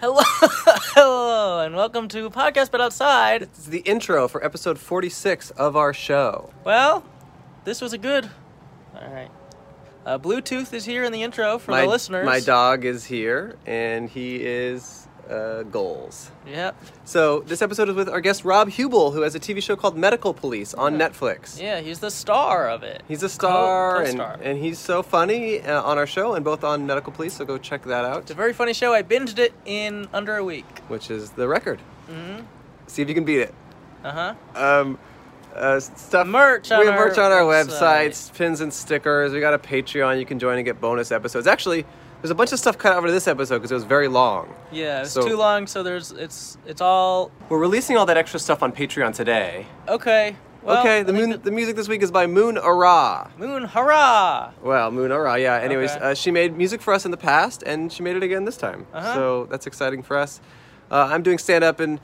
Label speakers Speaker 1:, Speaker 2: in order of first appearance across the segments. Speaker 1: Hello, hello, and welcome to Podcast But Outside.
Speaker 2: It's the intro for episode 46 of our show.
Speaker 1: Well, this was a good. All right. Uh, Bluetooth is here in the intro for
Speaker 2: my,
Speaker 1: the listeners.
Speaker 2: my dog is here, and he is uh, goals.
Speaker 1: Yep.
Speaker 2: So this episode is with our guest Rob Hubel, who has a TV show called Medical Police on Netflix.
Speaker 1: Yeah, he's the star of it.
Speaker 2: He's a star,
Speaker 1: Co-
Speaker 2: and,
Speaker 1: co-star.
Speaker 2: and he's so funny uh, on our show and both on Medical Police, so go check that out,
Speaker 1: It's a very funny show. I binged it in under a week.
Speaker 2: which is the record.
Speaker 1: Mm-hmm.
Speaker 2: See if you can beat it.
Speaker 1: Uh huh.
Speaker 2: um, uh, stuff
Speaker 1: Merch on
Speaker 2: we have
Speaker 1: our
Speaker 2: merch on our
Speaker 1: website.
Speaker 2: websites, pins and stickers. We got a Patreon you can join and get bonus episodes. Actually, there's a bunch of stuff cut out for this episode because it was very long.
Speaker 1: Yeah, it's
Speaker 2: So-
Speaker 1: too long, so there's it's it's all
Speaker 2: We're releasing all that extra stuff on Patreon today.
Speaker 1: okay. Well,
Speaker 2: okay,
Speaker 1: I
Speaker 2: the
Speaker 1: think
Speaker 2: moon, the... music this week is by Moon Ara.
Speaker 1: that- moon, hurrah!
Speaker 2: Well, Moon Ara, yeah. Anyways,
Speaker 1: Okay.
Speaker 2: uh, she made music for us in the past, and she made it again this time.
Speaker 1: Uh-huh.
Speaker 2: So that's exciting for us. Uh, I'm doing stand up in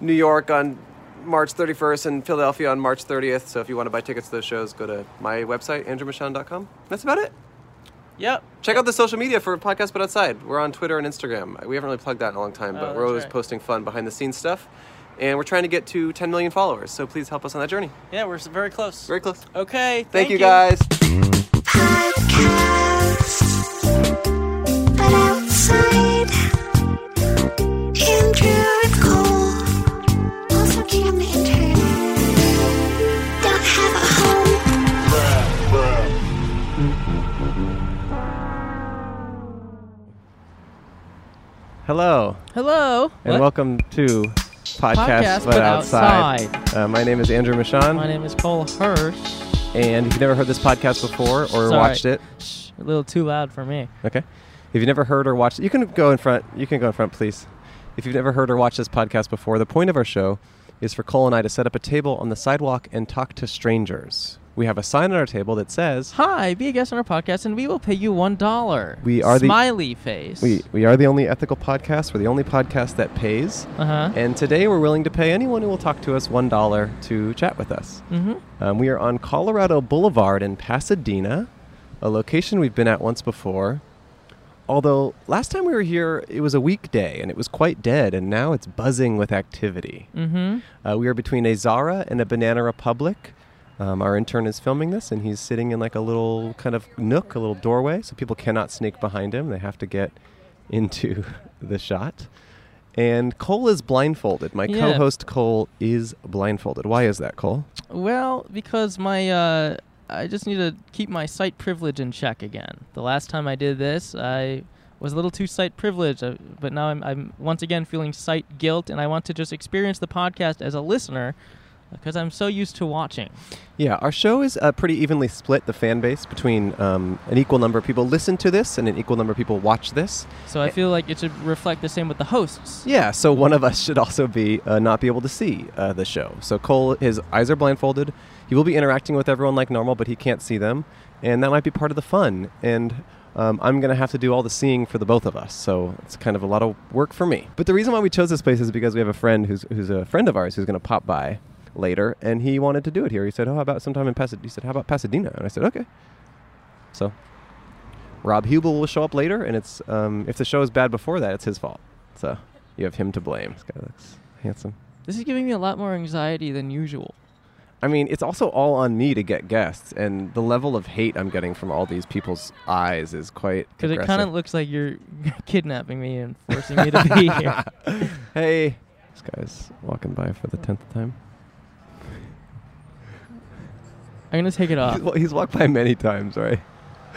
Speaker 2: New York on March 31st and Philadelphia on March 30th. So if you want to buy tickets to those shows, go to my website, andrewmachon.com. That's about it.
Speaker 1: Yep.
Speaker 2: Check out the social media for Podcast But Outside. We're on Twitter and Instagram. We haven't really plugged that in a long time,
Speaker 1: Oh,
Speaker 2: but
Speaker 1: that's
Speaker 2: we're always
Speaker 1: right.
Speaker 2: posting fun behind the scenes stuff. And we're trying to get to 10 million followers. So please help us on that journey.
Speaker 1: Yeah, we're s- very close.
Speaker 2: Very close.
Speaker 1: Okay. Oh, Thank,
Speaker 2: Thank you guys.
Speaker 3: But outside, Andrew and Cole, also keen on the internet, don't have a home.
Speaker 2: Hello.
Speaker 4: Hello.
Speaker 2: And
Speaker 4: What?
Speaker 2: welcome to Podcast,
Speaker 4: Podcast
Speaker 2: but,
Speaker 4: But
Speaker 2: Outside. Uh, my name is Andrew Michon,
Speaker 4: My name is Cole Hirsch.
Speaker 2: and if you've never heard this podcast before or
Speaker 4: Sorry.
Speaker 2: watched it,
Speaker 4: Shh, a little too loud for me.
Speaker 2: okay. If you've never heard or watched, you can go in front. You can go in front, please. If you've never heard or watched this podcast before, the point of our show is for Cole and I to set up a table on the sidewalk and talk to strangers. We have a sign on our table that says
Speaker 4: Hi, be a guest on our podcast, and we will pay you one dollar.
Speaker 2: We are the-
Speaker 4: smiley face.
Speaker 2: we, we are the only ethical podcast. We're the only podcast that pays.
Speaker 4: Uh huh.
Speaker 2: And today we're willing to pay anyone who will talk to us $1 to chat with us.
Speaker 4: Mhm.
Speaker 2: Um, we are on Colorado Boulevard in Pasadena, a location we've been at once before. Although last time we were here, it was a weekday and it was quite dead, and now it's buzzing with activity.
Speaker 4: Mhm.
Speaker 2: Uh, we are between a Zara and a Banana Republic. Um, our intern is filming this, and he's sitting in like a little kind of nook, a little doorway, so people cannot sneak behind him. They have to get into the shot. And Cole is blindfolded. My
Speaker 4: Yeah.
Speaker 2: co-host Cole is blindfolded. Why is that, Cole?
Speaker 4: Well, because my uh, I just need to keep my site privilege in check again. The last time I did this, I was a little too site privileged, uh, but now I'm I'm once again feeling site guilt, and I want to just experience the podcast as a listener, because I'm so used to watching.
Speaker 2: Yeah, our show is uh, pretty evenly split, the fan base, between um, an equal number of people listen to this and an equal number of people watch this.
Speaker 4: So I feel like it should reflect the same with the hosts.
Speaker 2: Eh. Yeah, so one of us should also be uh, not be able to see uh, the show. So Cole, his eyes are blindfolded. He will be interacting with everyone like normal, but he can't see them, and that might be part of the fun. And um, I'm gonna have to do all the seeing for the both of us, so it's kind of a lot of work for me. But the reason why we chose this place is because we have a friend who's who's a friend of ours who's gonna pop by later, and he wanted to do it here. He said, "Oh, how about sometime in Pasadena?" He said, "How about Pasadena?" And I said, "Okay." So Rob Hubel will show up later, and it's um, if the show is bad before that, it's his fault. So you have him to blame. This guy looks handsome.
Speaker 4: This is giving me a lot more anxiety than usual.
Speaker 2: I mean, it's also all on me to get guests, and the level of hate I'm getting from all these people's eyes is quite.
Speaker 4: Because it kind
Speaker 2: aggressive.
Speaker 4: of looks like you're kidnapping me and forcing me to be here.
Speaker 2: hey, this guy's walking by for the tenth time.
Speaker 4: I'm gonna take it off.
Speaker 2: He's, wa- he's walked by many times, right?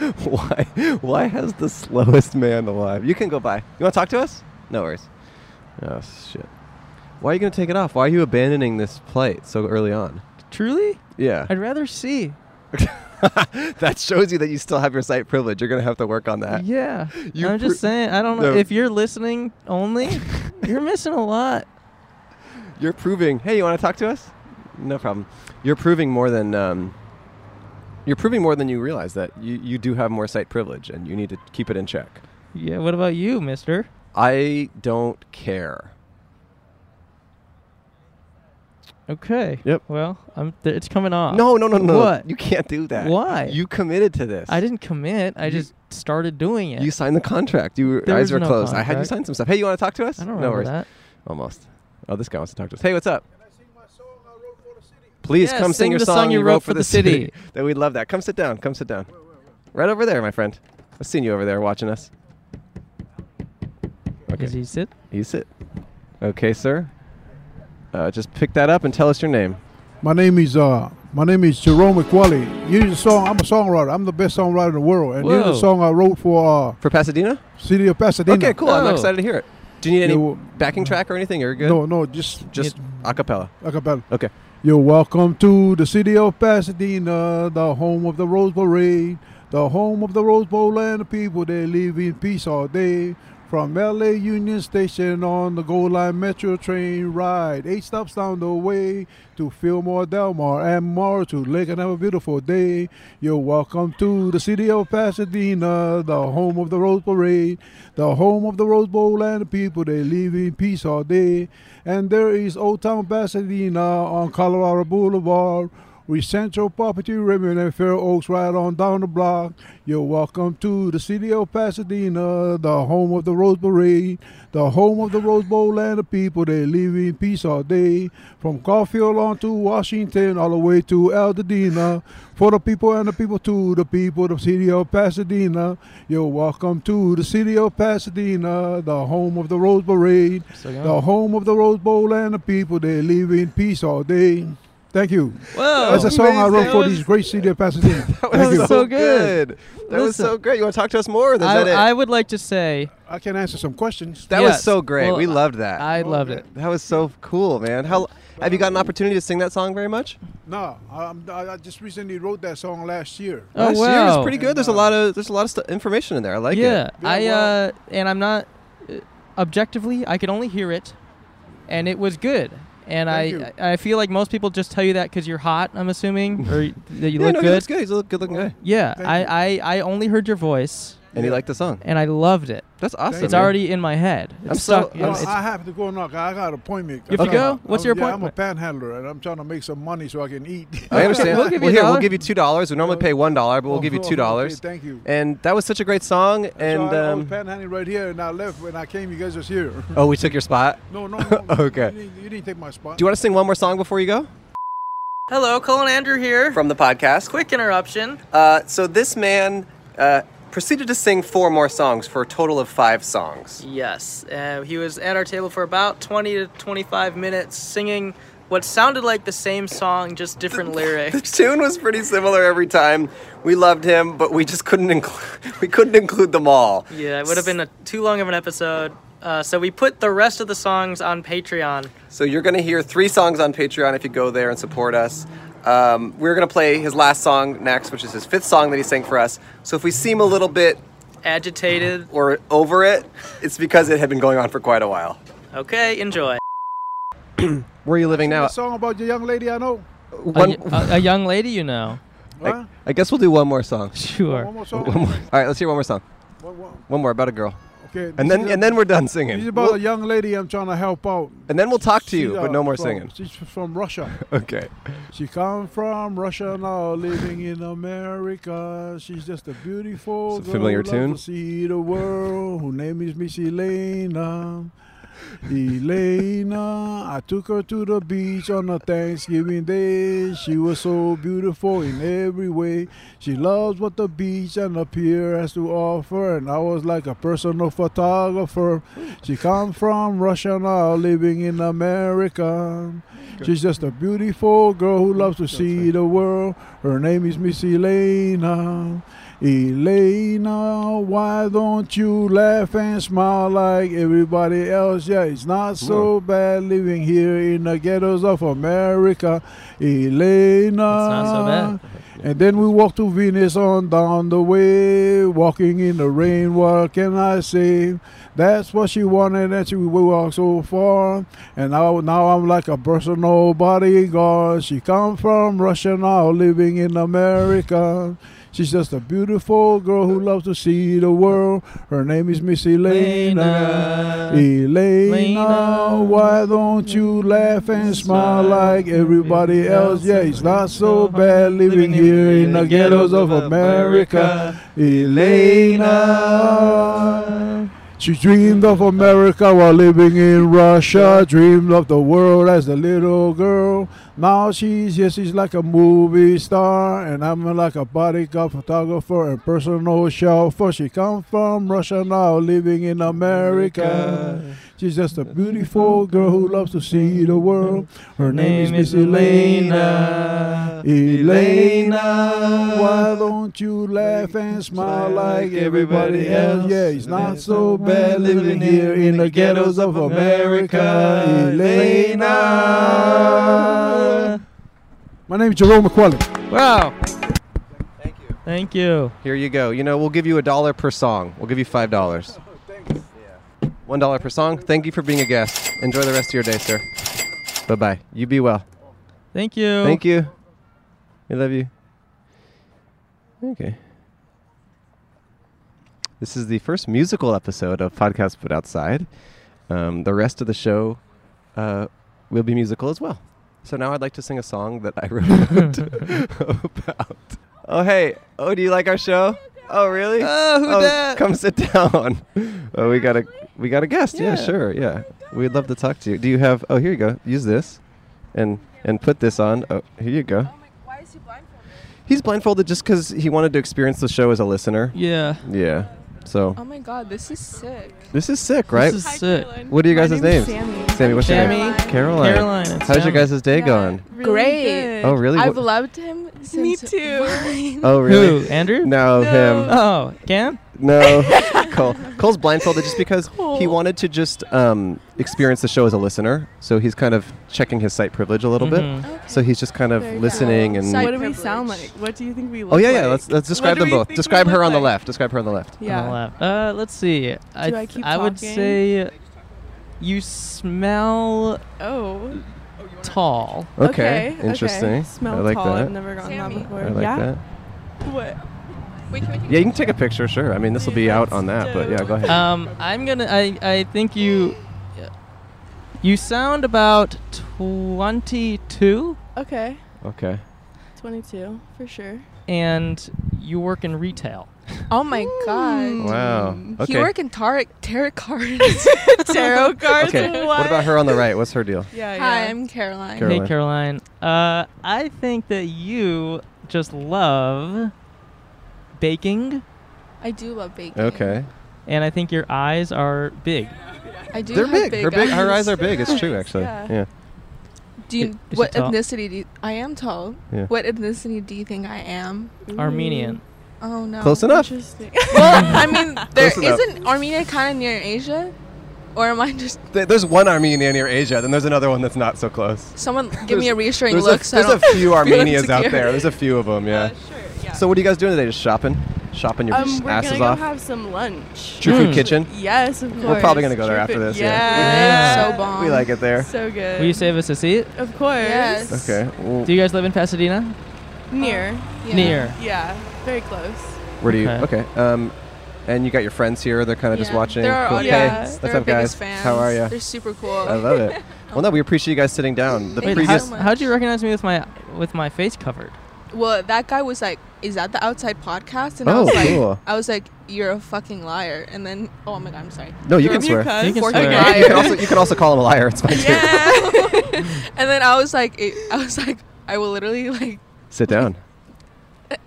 Speaker 2: Why? Why has the slowest man alive? You can go by. You want to talk to us? No worries. Oh shit! Why are you gonna take it off? Why are you abandoning this plate so early on?
Speaker 4: Truly,
Speaker 2: Yeah.
Speaker 4: I'd rather see.
Speaker 2: that shows you that you still have your site privilege. You're gonna have to work on that.
Speaker 4: yeah,
Speaker 2: Uh, you
Speaker 4: I'm just
Speaker 2: pr-
Speaker 4: saying. I don't know
Speaker 2: No.
Speaker 4: if you're listening only. you're missing a lot.
Speaker 2: You're proving. Hey, you want to talk to us? No problem. You're proving more than um, you're proving more than you realize that you, you do have more site privilege and you need to keep it in check.
Speaker 4: Yeah. What about you, Mister?
Speaker 2: I don't care.
Speaker 4: Okay.
Speaker 2: Yep.
Speaker 4: Well, I'm th- it's coming off.
Speaker 2: No, no, no, no.
Speaker 4: What?
Speaker 2: You can't do that.
Speaker 4: Why?
Speaker 2: You committed to this.
Speaker 4: I didn't commit. I
Speaker 2: You-
Speaker 4: just started doing it.
Speaker 2: You signed the contract. You were,
Speaker 4: There
Speaker 2: eyes
Speaker 4: is
Speaker 2: were
Speaker 4: no
Speaker 2: closed. I had you
Speaker 4: contract.
Speaker 2: sign some stuff. Hey, you want to talk to us?
Speaker 4: I don't
Speaker 2: no
Speaker 4: remember
Speaker 2: worries.
Speaker 4: that.
Speaker 2: Almost. Oh, this guy wants to talk to us. Hey, what's up? Please
Speaker 4: Yeah,
Speaker 2: come
Speaker 4: sing
Speaker 2: sing your
Speaker 4: the
Speaker 2: song,
Speaker 4: song you wrote for the city.
Speaker 2: That we'd love that. Come sit down. Come sit down. Right over there, my friend. I've seen you over there watching us. Okay.
Speaker 4: Is he sit?
Speaker 2: You sit. Okay, sir. Uh, just pick that up and tell us your name.
Speaker 5: My name is uh, my name is Jerome McQually. You need a song. I'm a songwriter. I'm the best songwriter in the world, and here's
Speaker 4: Whoa.
Speaker 5: a song I wrote for
Speaker 2: For Pasadena?
Speaker 5: uh, City of Pasadena.
Speaker 2: Okay, cool. I'm
Speaker 4: Oh.
Speaker 2: excited to hear it. Do you need any
Speaker 5: You're-
Speaker 2: backing track or anything? You're good?
Speaker 5: No, no, just
Speaker 2: Just a cappella.
Speaker 5: acapella.
Speaker 2: Okay.
Speaker 5: You're welcome to the city of Pasadena, the home of the Rose Parade, the home of the Rose Bowl, and the people that live in peace all day. From LA Union Station on the Gold Line Metro train ride, eight stops down the way to Fillmore, Del Mar, and more to Lake and have a beautiful day. You're welcome to the city of Pasadena, the home of the Rose Parade, the home of the Rose Bowl, and the people they live in peace all day. And there is Old Town Pasadena on Colorado Boulevard. with Central Property Ribbon and Fair Oaks right on down the block. You're welcome to the city of Pasadena, the home of the Rose Parade, the home of the Rose Bowl and the people that live in peace all day. From Caulfield on to Washington, all the way to Altadena. For the people and the people to the people, the city of Pasadena. You're welcome to the city of Pasadena, the home of the Rose Parade,
Speaker 4: Still going?
Speaker 5: the home of the Rose Bowl and the people that live in peace all day. Thank you.
Speaker 4: Whoa.
Speaker 5: That's a song I wrote
Speaker 2: amazing.
Speaker 5: for
Speaker 2: Oh. That
Speaker 5: this great city of Pasadena.
Speaker 4: Thank
Speaker 2: That was
Speaker 4: you.
Speaker 2: so,
Speaker 4: So
Speaker 2: good.
Speaker 4: good.
Speaker 2: That was so
Speaker 4: Listen.
Speaker 2: great. You want to talk to us more? Or is that it?
Speaker 4: I, I would like to say
Speaker 5: I can answer some questions.
Speaker 2: that was
Speaker 4: yes.
Speaker 2: so great.
Speaker 4: Well,
Speaker 2: we loved that.
Speaker 4: I loved it.
Speaker 2: that was so cool, man. How have you got an opportunity to sing that song very much?
Speaker 5: No, I'm, I I just recently wrote that song last year.
Speaker 4: Oh
Speaker 2: Last year
Speaker 4: wow.
Speaker 2: was pretty good. There's a lot of there's a lot of stu information in there. I like
Speaker 4: yeah,
Speaker 2: it.
Speaker 4: I
Speaker 5: Yeah, well-
Speaker 4: uh, and I'm not uh, objectively. I could only hear it, and it was good. And I,
Speaker 5: Thank you.
Speaker 4: I I feel like most people just tell you that because you're hot. I'm assuming, or y- that you
Speaker 2: yeah,
Speaker 4: look
Speaker 2: no, he
Speaker 4: good.
Speaker 2: looks good. He's a good looking guy,
Speaker 4: Yeah,
Speaker 5: Thank you.
Speaker 4: I, I, I only heard your voice,
Speaker 2: and he liked the song.
Speaker 4: and I loved it.
Speaker 2: That's awesome.
Speaker 4: It's
Speaker 2: man.
Speaker 4: already in my head. It's
Speaker 2: I'm so-
Speaker 4: stuck.
Speaker 2: I'm
Speaker 4: in-
Speaker 5: Well,
Speaker 2: s-
Speaker 4: it's-
Speaker 5: I have to go now. 'cause I got an appointment.
Speaker 4: You have to
Speaker 5: I'm-
Speaker 4: go? What's your
Speaker 5: yeah,
Speaker 4: appointment?
Speaker 5: I'm a panhandler, and I'm trying to make some money so I can eat.
Speaker 2: I understand.
Speaker 4: We'll give you a
Speaker 2: here, we'll
Speaker 4: dollar.
Speaker 2: give you two dollars. We normally pay one dollar, but we'll give you two
Speaker 5: Oh, Okay,
Speaker 2: dollars.
Speaker 5: thank you.
Speaker 2: And that was such a great song.
Speaker 5: so
Speaker 2: And
Speaker 5: I, I was
Speaker 2: um,
Speaker 5: panhandling right here, and I left when I came. You guys was here.
Speaker 2: oh, we took your spot.
Speaker 5: No, no. no
Speaker 2: Okay.
Speaker 5: You didn't, you didn't take my spot.
Speaker 2: Do you want to sing one more song before you go?
Speaker 1: Hello, Colin Andrew here.
Speaker 2: From the podcast.
Speaker 1: Quick interruption.
Speaker 2: Uh, so this man uh, proceeded to sing four more songs for a total of five songs.
Speaker 1: Yes, uh, he was at our table for about 20 to 25 minutes singing what sounded like the same song, just different
Speaker 2: The
Speaker 1: lyrics.
Speaker 2: tune was pretty similar every time. We loved him, but we just couldn't include we couldn't include them all.
Speaker 1: Yeah, it would have been a, too long of an episode. Uh, so we put the rest of the songs on Patreon.
Speaker 2: So you're gonna hear three songs on Patreon if you go there and support us. Um, we're gonna play his last song next, which is his fifth song that he sang for us. So if we seem a little bit
Speaker 1: Agitated.
Speaker 2: or over it, it's because it had been going on for quite a while.
Speaker 1: Okay, enjoy.
Speaker 2: Where are you living now?
Speaker 5: a song about your young lady I know?
Speaker 4: a,
Speaker 2: One,
Speaker 4: y- a- a young lady, you know.
Speaker 5: Huh?
Speaker 2: I guess we'll do one more song.
Speaker 4: Sure.
Speaker 5: One more song.
Speaker 2: All right, let's hear one more song.
Speaker 5: One- one-
Speaker 2: One more about a girl.
Speaker 5: Okay.
Speaker 2: And then and then we're done singing.
Speaker 5: This is about
Speaker 2: We'll-
Speaker 5: a young lady I'm trying to help out.
Speaker 2: and then we'll talk to you,
Speaker 5: She,
Speaker 2: but
Speaker 5: uh,
Speaker 2: no more
Speaker 5: from-
Speaker 2: singing.
Speaker 5: She's from Russia.
Speaker 2: Okay.
Speaker 5: She come from Russia now, living in America. She's just a beautiful
Speaker 2: It's a
Speaker 5: girl
Speaker 2: familiar
Speaker 5: who loves
Speaker 2: tune.
Speaker 5: To see the world. Her name is Miss Elena. Elena, I took her to the beach on a Thanksgiving day. She was so beautiful in every way. She loves what the beach and the pier has to offer, and I was like a personal photographer. She come from Russia now, living in America. She's just a beautiful girl who loves to see the world. Her name is Miss Elena. Elena, why don't you laugh and smile like everybody else? Yeah, it's not so bad living here in the ghettos of America. Elena. It's
Speaker 4: not so bad.
Speaker 5: and then we walk to Venus on down the way, walking in the rain. What can I say? That's what she wanted, and she we walked so far. And now, now I'm like a personal bodyguard. She come from Russia now, living in America. She's just a beautiful girl who loves to see the world. Her name is Miss Elena. Elena,
Speaker 4: Elena.
Speaker 5: why don't you laugh and smile like everybody else? Yeah, it's not so bad living here in the ghettos of America. Elena. She dreamed of America while living in Russia. Dreamed of the world as a little girl. Now she's yes, she's like a movie star, and I'm like a bodyguard photographer and personal chauffeur. She come from Russia now, living in America. She's just a beautiful girl who loves to see the world. Her name is Miss Elena. Elena, why don't you laugh and smile like everybody else? Yeah, it's not so bad living here in the ghettos of America. Elena. My name is Jerome McQuillan.
Speaker 4: Wow. Thank you. Thank you.
Speaker 2: Here you go. You know, we'll give you a dollar per song. We'll give you five dollars. One dollar per song. Thank you for being a guest. Enjoy the rest of your day, sir. Bye bye. You be well.
Speaker 4: Thank you.
Speaker 2: Thank you. I love you. Okay. This is the first musical episode of Podcast Put Outside. Um, the rest of the show uh, will be musical as well. So now I'd like to sing a song that I wrote about. Oh, hey. Oh, do you like our show? Oh, really?
Speaker 4: Oh, who dat?
Speaker 2: Come sit down. Oh, we got a we got a guest. Yeah,
Speaker 4: Yeah.
Speaker 2: sure. Yeah, we'd love to talk to you. Do you have? Oh, here you go. Use this, and and put this on. Oh, here you go.
Speaker 6: Oh my, why is he blindfolded?
Speaker 2: He's blindfolded just because he wanted to experience the show as a listener.
Speaker 4: Yeah.
Speaker 2: Yeah. So
Speaker 6: Oh my god, this is sick.
Speaker 2: this is sick, right?
Speaker 4: This is sick.
Speaker 2: what are you guys' names?
Speaker 6: Sammy.
Speaker 2: Sammy, what's
Speaker 4: Sammy.
Speaker 2: your name?
Speaker 6: Caroline.
Speaker 2: Caroline.
Speaker 4: Caroline. and
Speaker 2: How's your
Speaker 4: Sam.
Speaker 2: guys' day going?
Speaker 6: Great.
Speaker 2: Oh, really?
Speaker 6: I've
Speaker 2: Wha-
Speaker 6: loved him since Me too.
Speaker 2: oh, really?
Speaker 4: Who? Andrew?
Speaker 2: No, him.
Speaker 4: Oh, Cam?
Speaker 2: No, Cole. Cole's blindfolded just because he
Speaker 6: Cole.
Speaker 2: wanted to just um, experience the show as a listener. So he's kind of checking his sight privilege a little
Speaker 7: Mm-hmm.
Speaker 4: Mhm.
Speaker 2: bit. So he's just kind of
Speaker 6: Very
Speaker 2: listening and.
Speaker 6: Sight
Speaker 7: what do we sound like? What do you think we look
Speaker 2: oh
Speaker 7: like?
Speaker 2: yeah, yeah. Let's let's describe
Speaker 7: do
Speaker 2: them
Speaker 7: we
Speaker 2: both.
Speaker 7: think we
Speaker 2: Describe her
Speaker 7: look
Speaker 2: on the
Speaker 7: like?
Speaker 2: left. Describe her on the left.
Speaker 4: on the
Speaker 7: Yeah.
Speaker 4: left. Uh, let's see. I,
Speaker 7: Do I
Speaker 4: th-
Speaker 7: keep
Speaker 4: I would
Speaker 7: talking?
Speaker 4: say you smell
Speaker 7: Oh.
Speaker 4: tall.
Speaker 2: Okay. Interesting.
Speaker 7: Smell
Speaker 2: I like
Speaker 7: tall.
Speaker 2: that.
Speaker 7: I've never gotten
Speaker 6: Sammy.
Speaker 7: that before.
Speaker 2: I like
Speaker 7: yeah.
Speaker 2: that.
Speaker 7: What?
Speaker 6: Wait, can we take
Speaker 2: Yeah, you can take a picture, sure. I mean, this will be out on that, but yeah, go ahead.
Speaker 4: Um, I'm gonna. I I think you. You sound about twenty-two,
Speaker 7: Okay.
Speaker 2: Okay.
Speaker 7: 22 for sure.
Speaker 4: and you work in retail.
Speaker 6: Oh my
Speaker 7: mm,
Speaker 6: god.
Speaker 2: Wow. Okay.
Speaker 6: He work in tarot, tarot cards.
Speaker 7: Tarot cards.
Speaker 2: okay.
Speaker 7: What?
Speaker 2: What? about her on the right? What's her deal?
Speaker 7: uh, Yeah, yeah.
Speaker 6: Hi, I'm Caroline.
Speaker 2: Carol-
Speaker 4: Hey, Caroline. Uh, I think that you just love baking,
Speaker 6: I do love baking.
Speaker 2: Okay.
Speaker 4: and I think your eyes are big.
Speaker 6: I do
Speaker 2: They're
Speaker 6: have
Speaker 2: big. Her big. Her eyes are big. It's true,
Speaker 7: Nice,
Speaker 2: actually.
Speaker 7: yeah.
Speaker 2: Yeah.
Speaker 6: Do you,
Speaker 4: Is she
Speaker 6: what
Speaker 4: tall?
Speaker 6: ethnicity do you, I am tall.
Speaker 2: Yeah.
Speaker 6: What ethnicity do you think I am?
Speaker 4: Armenian.
Speaker 6: Oh
Speaker 7: Um,
Speaker 6: no.
Speaker 2: Close enough.
Speaker 7: Interesting.
Speaker 6: Well, I mean, there
Speaker 2: Close enough.
Speaker 6: isn't Armenia kind of near Asia, or am I just
Speaker 2: Th- There's one Armenian near Asia, then there's another one that's not so close.
Speaker 6: someone give me a
Speaker 2: There's-
Speaker 6: reassuring
Speaker 2: There's,
Speaker 6: look?
Speaker 2: a,
Speaker 6: so I
Speaker 2: there's a
Speaker 6: don't
Speaker 2: few
Speaker 6: feel
Speaker 2: Armenians out
Speaker 6: insecure?
Speaker 2: there. There's a few of them, yeah.
Speaker 7: Uh, sure. Yeah.
Speaker 2: So what are you guys doing today? Just shopping? Shopping your
Speaker 7: um, we're
Speaker 2: asses
Speaker 7: gonna
Speaker 2: off?
Speaker 7: go have some lunch.
Speaker 2: True Food
Speaker 4: Mm.
Speaker 2: Kitchen?
Speaker 7: Yes, of course.
Speaker 2: probably gonna go there
Speaker 7: True
Speaker 2: after
Speaker 7: food-
Speaker 2: this,
Speaker 7: Yeah.
Speaker 6: So bomb.
Speaker 2: We like it there.
Speaker 7: So good.
Speaker 4: Will you save us a seat?
Speaker 7: Of course.
Speaker 6: Yes.
Speaker 2: Okay. well,
Speaker 4: Do you guys live in Pasadena?
Speaker 7: Near.
Speaker 6: Yeah.
Speaker 4: Near.
Speaker 7: Yeah. Very close.
Speaker 2: Where do you?
Speaker 4: Okay.
Speaker 2: Okay. Um, and you got your friends here. They're kind of just
Speaker 6: Yeah.
Speaker 2: watching.
Speaker 6: They're our
Speaker 2: Cool.
Speaker 7: audience.
Speaker 2: Hey,
Speaker 7: Yeah.
Speaker 2: what's
Speaker 6: They're our
Speaker 2: up, guys?
Speaker 6: biggest fans.
Speaker 2: How are
Speaker 6: They're
Speaker 2: you?
Speaker 6: super
Speaker 2: I
Speaker 6: cool.
Speaker 2: love it. Well, no, we appreciate you guys sitting down. The
Speaker 6: Thank
Speaker 4: Wait,
Speaker 6: you
Speaker 4: how,
Speaker 2: previous
Speaker 6: so much.
Speaker 4: how'd you recognize me with my with my face covered?
Speaker 6: Well, that guy was like, "Is that the outside podcast?" And I
Speaker 2: Oh,
Speaker 6: was like,
Speaker 2: cool.
Speaker 6: "I was like, you're a fucking liar." And then, oh my god, I'm sorry.
Speaker 2: No, you
Speaker 6: You're
Speaker 2: can
Speaker 6: a
Speaker 2: swear.
Speaker 7: cuss?
Speaker 4: You can
Speaker 6: Forking
Speaker 4: swear.
Speaker 6: liar.
Speaker 2: you can also you can also call him a liar. It's fine too.
Speaker 6: Yeah. and then I was like, it, I was like, I will literally like.
Speaker 2: Sit down.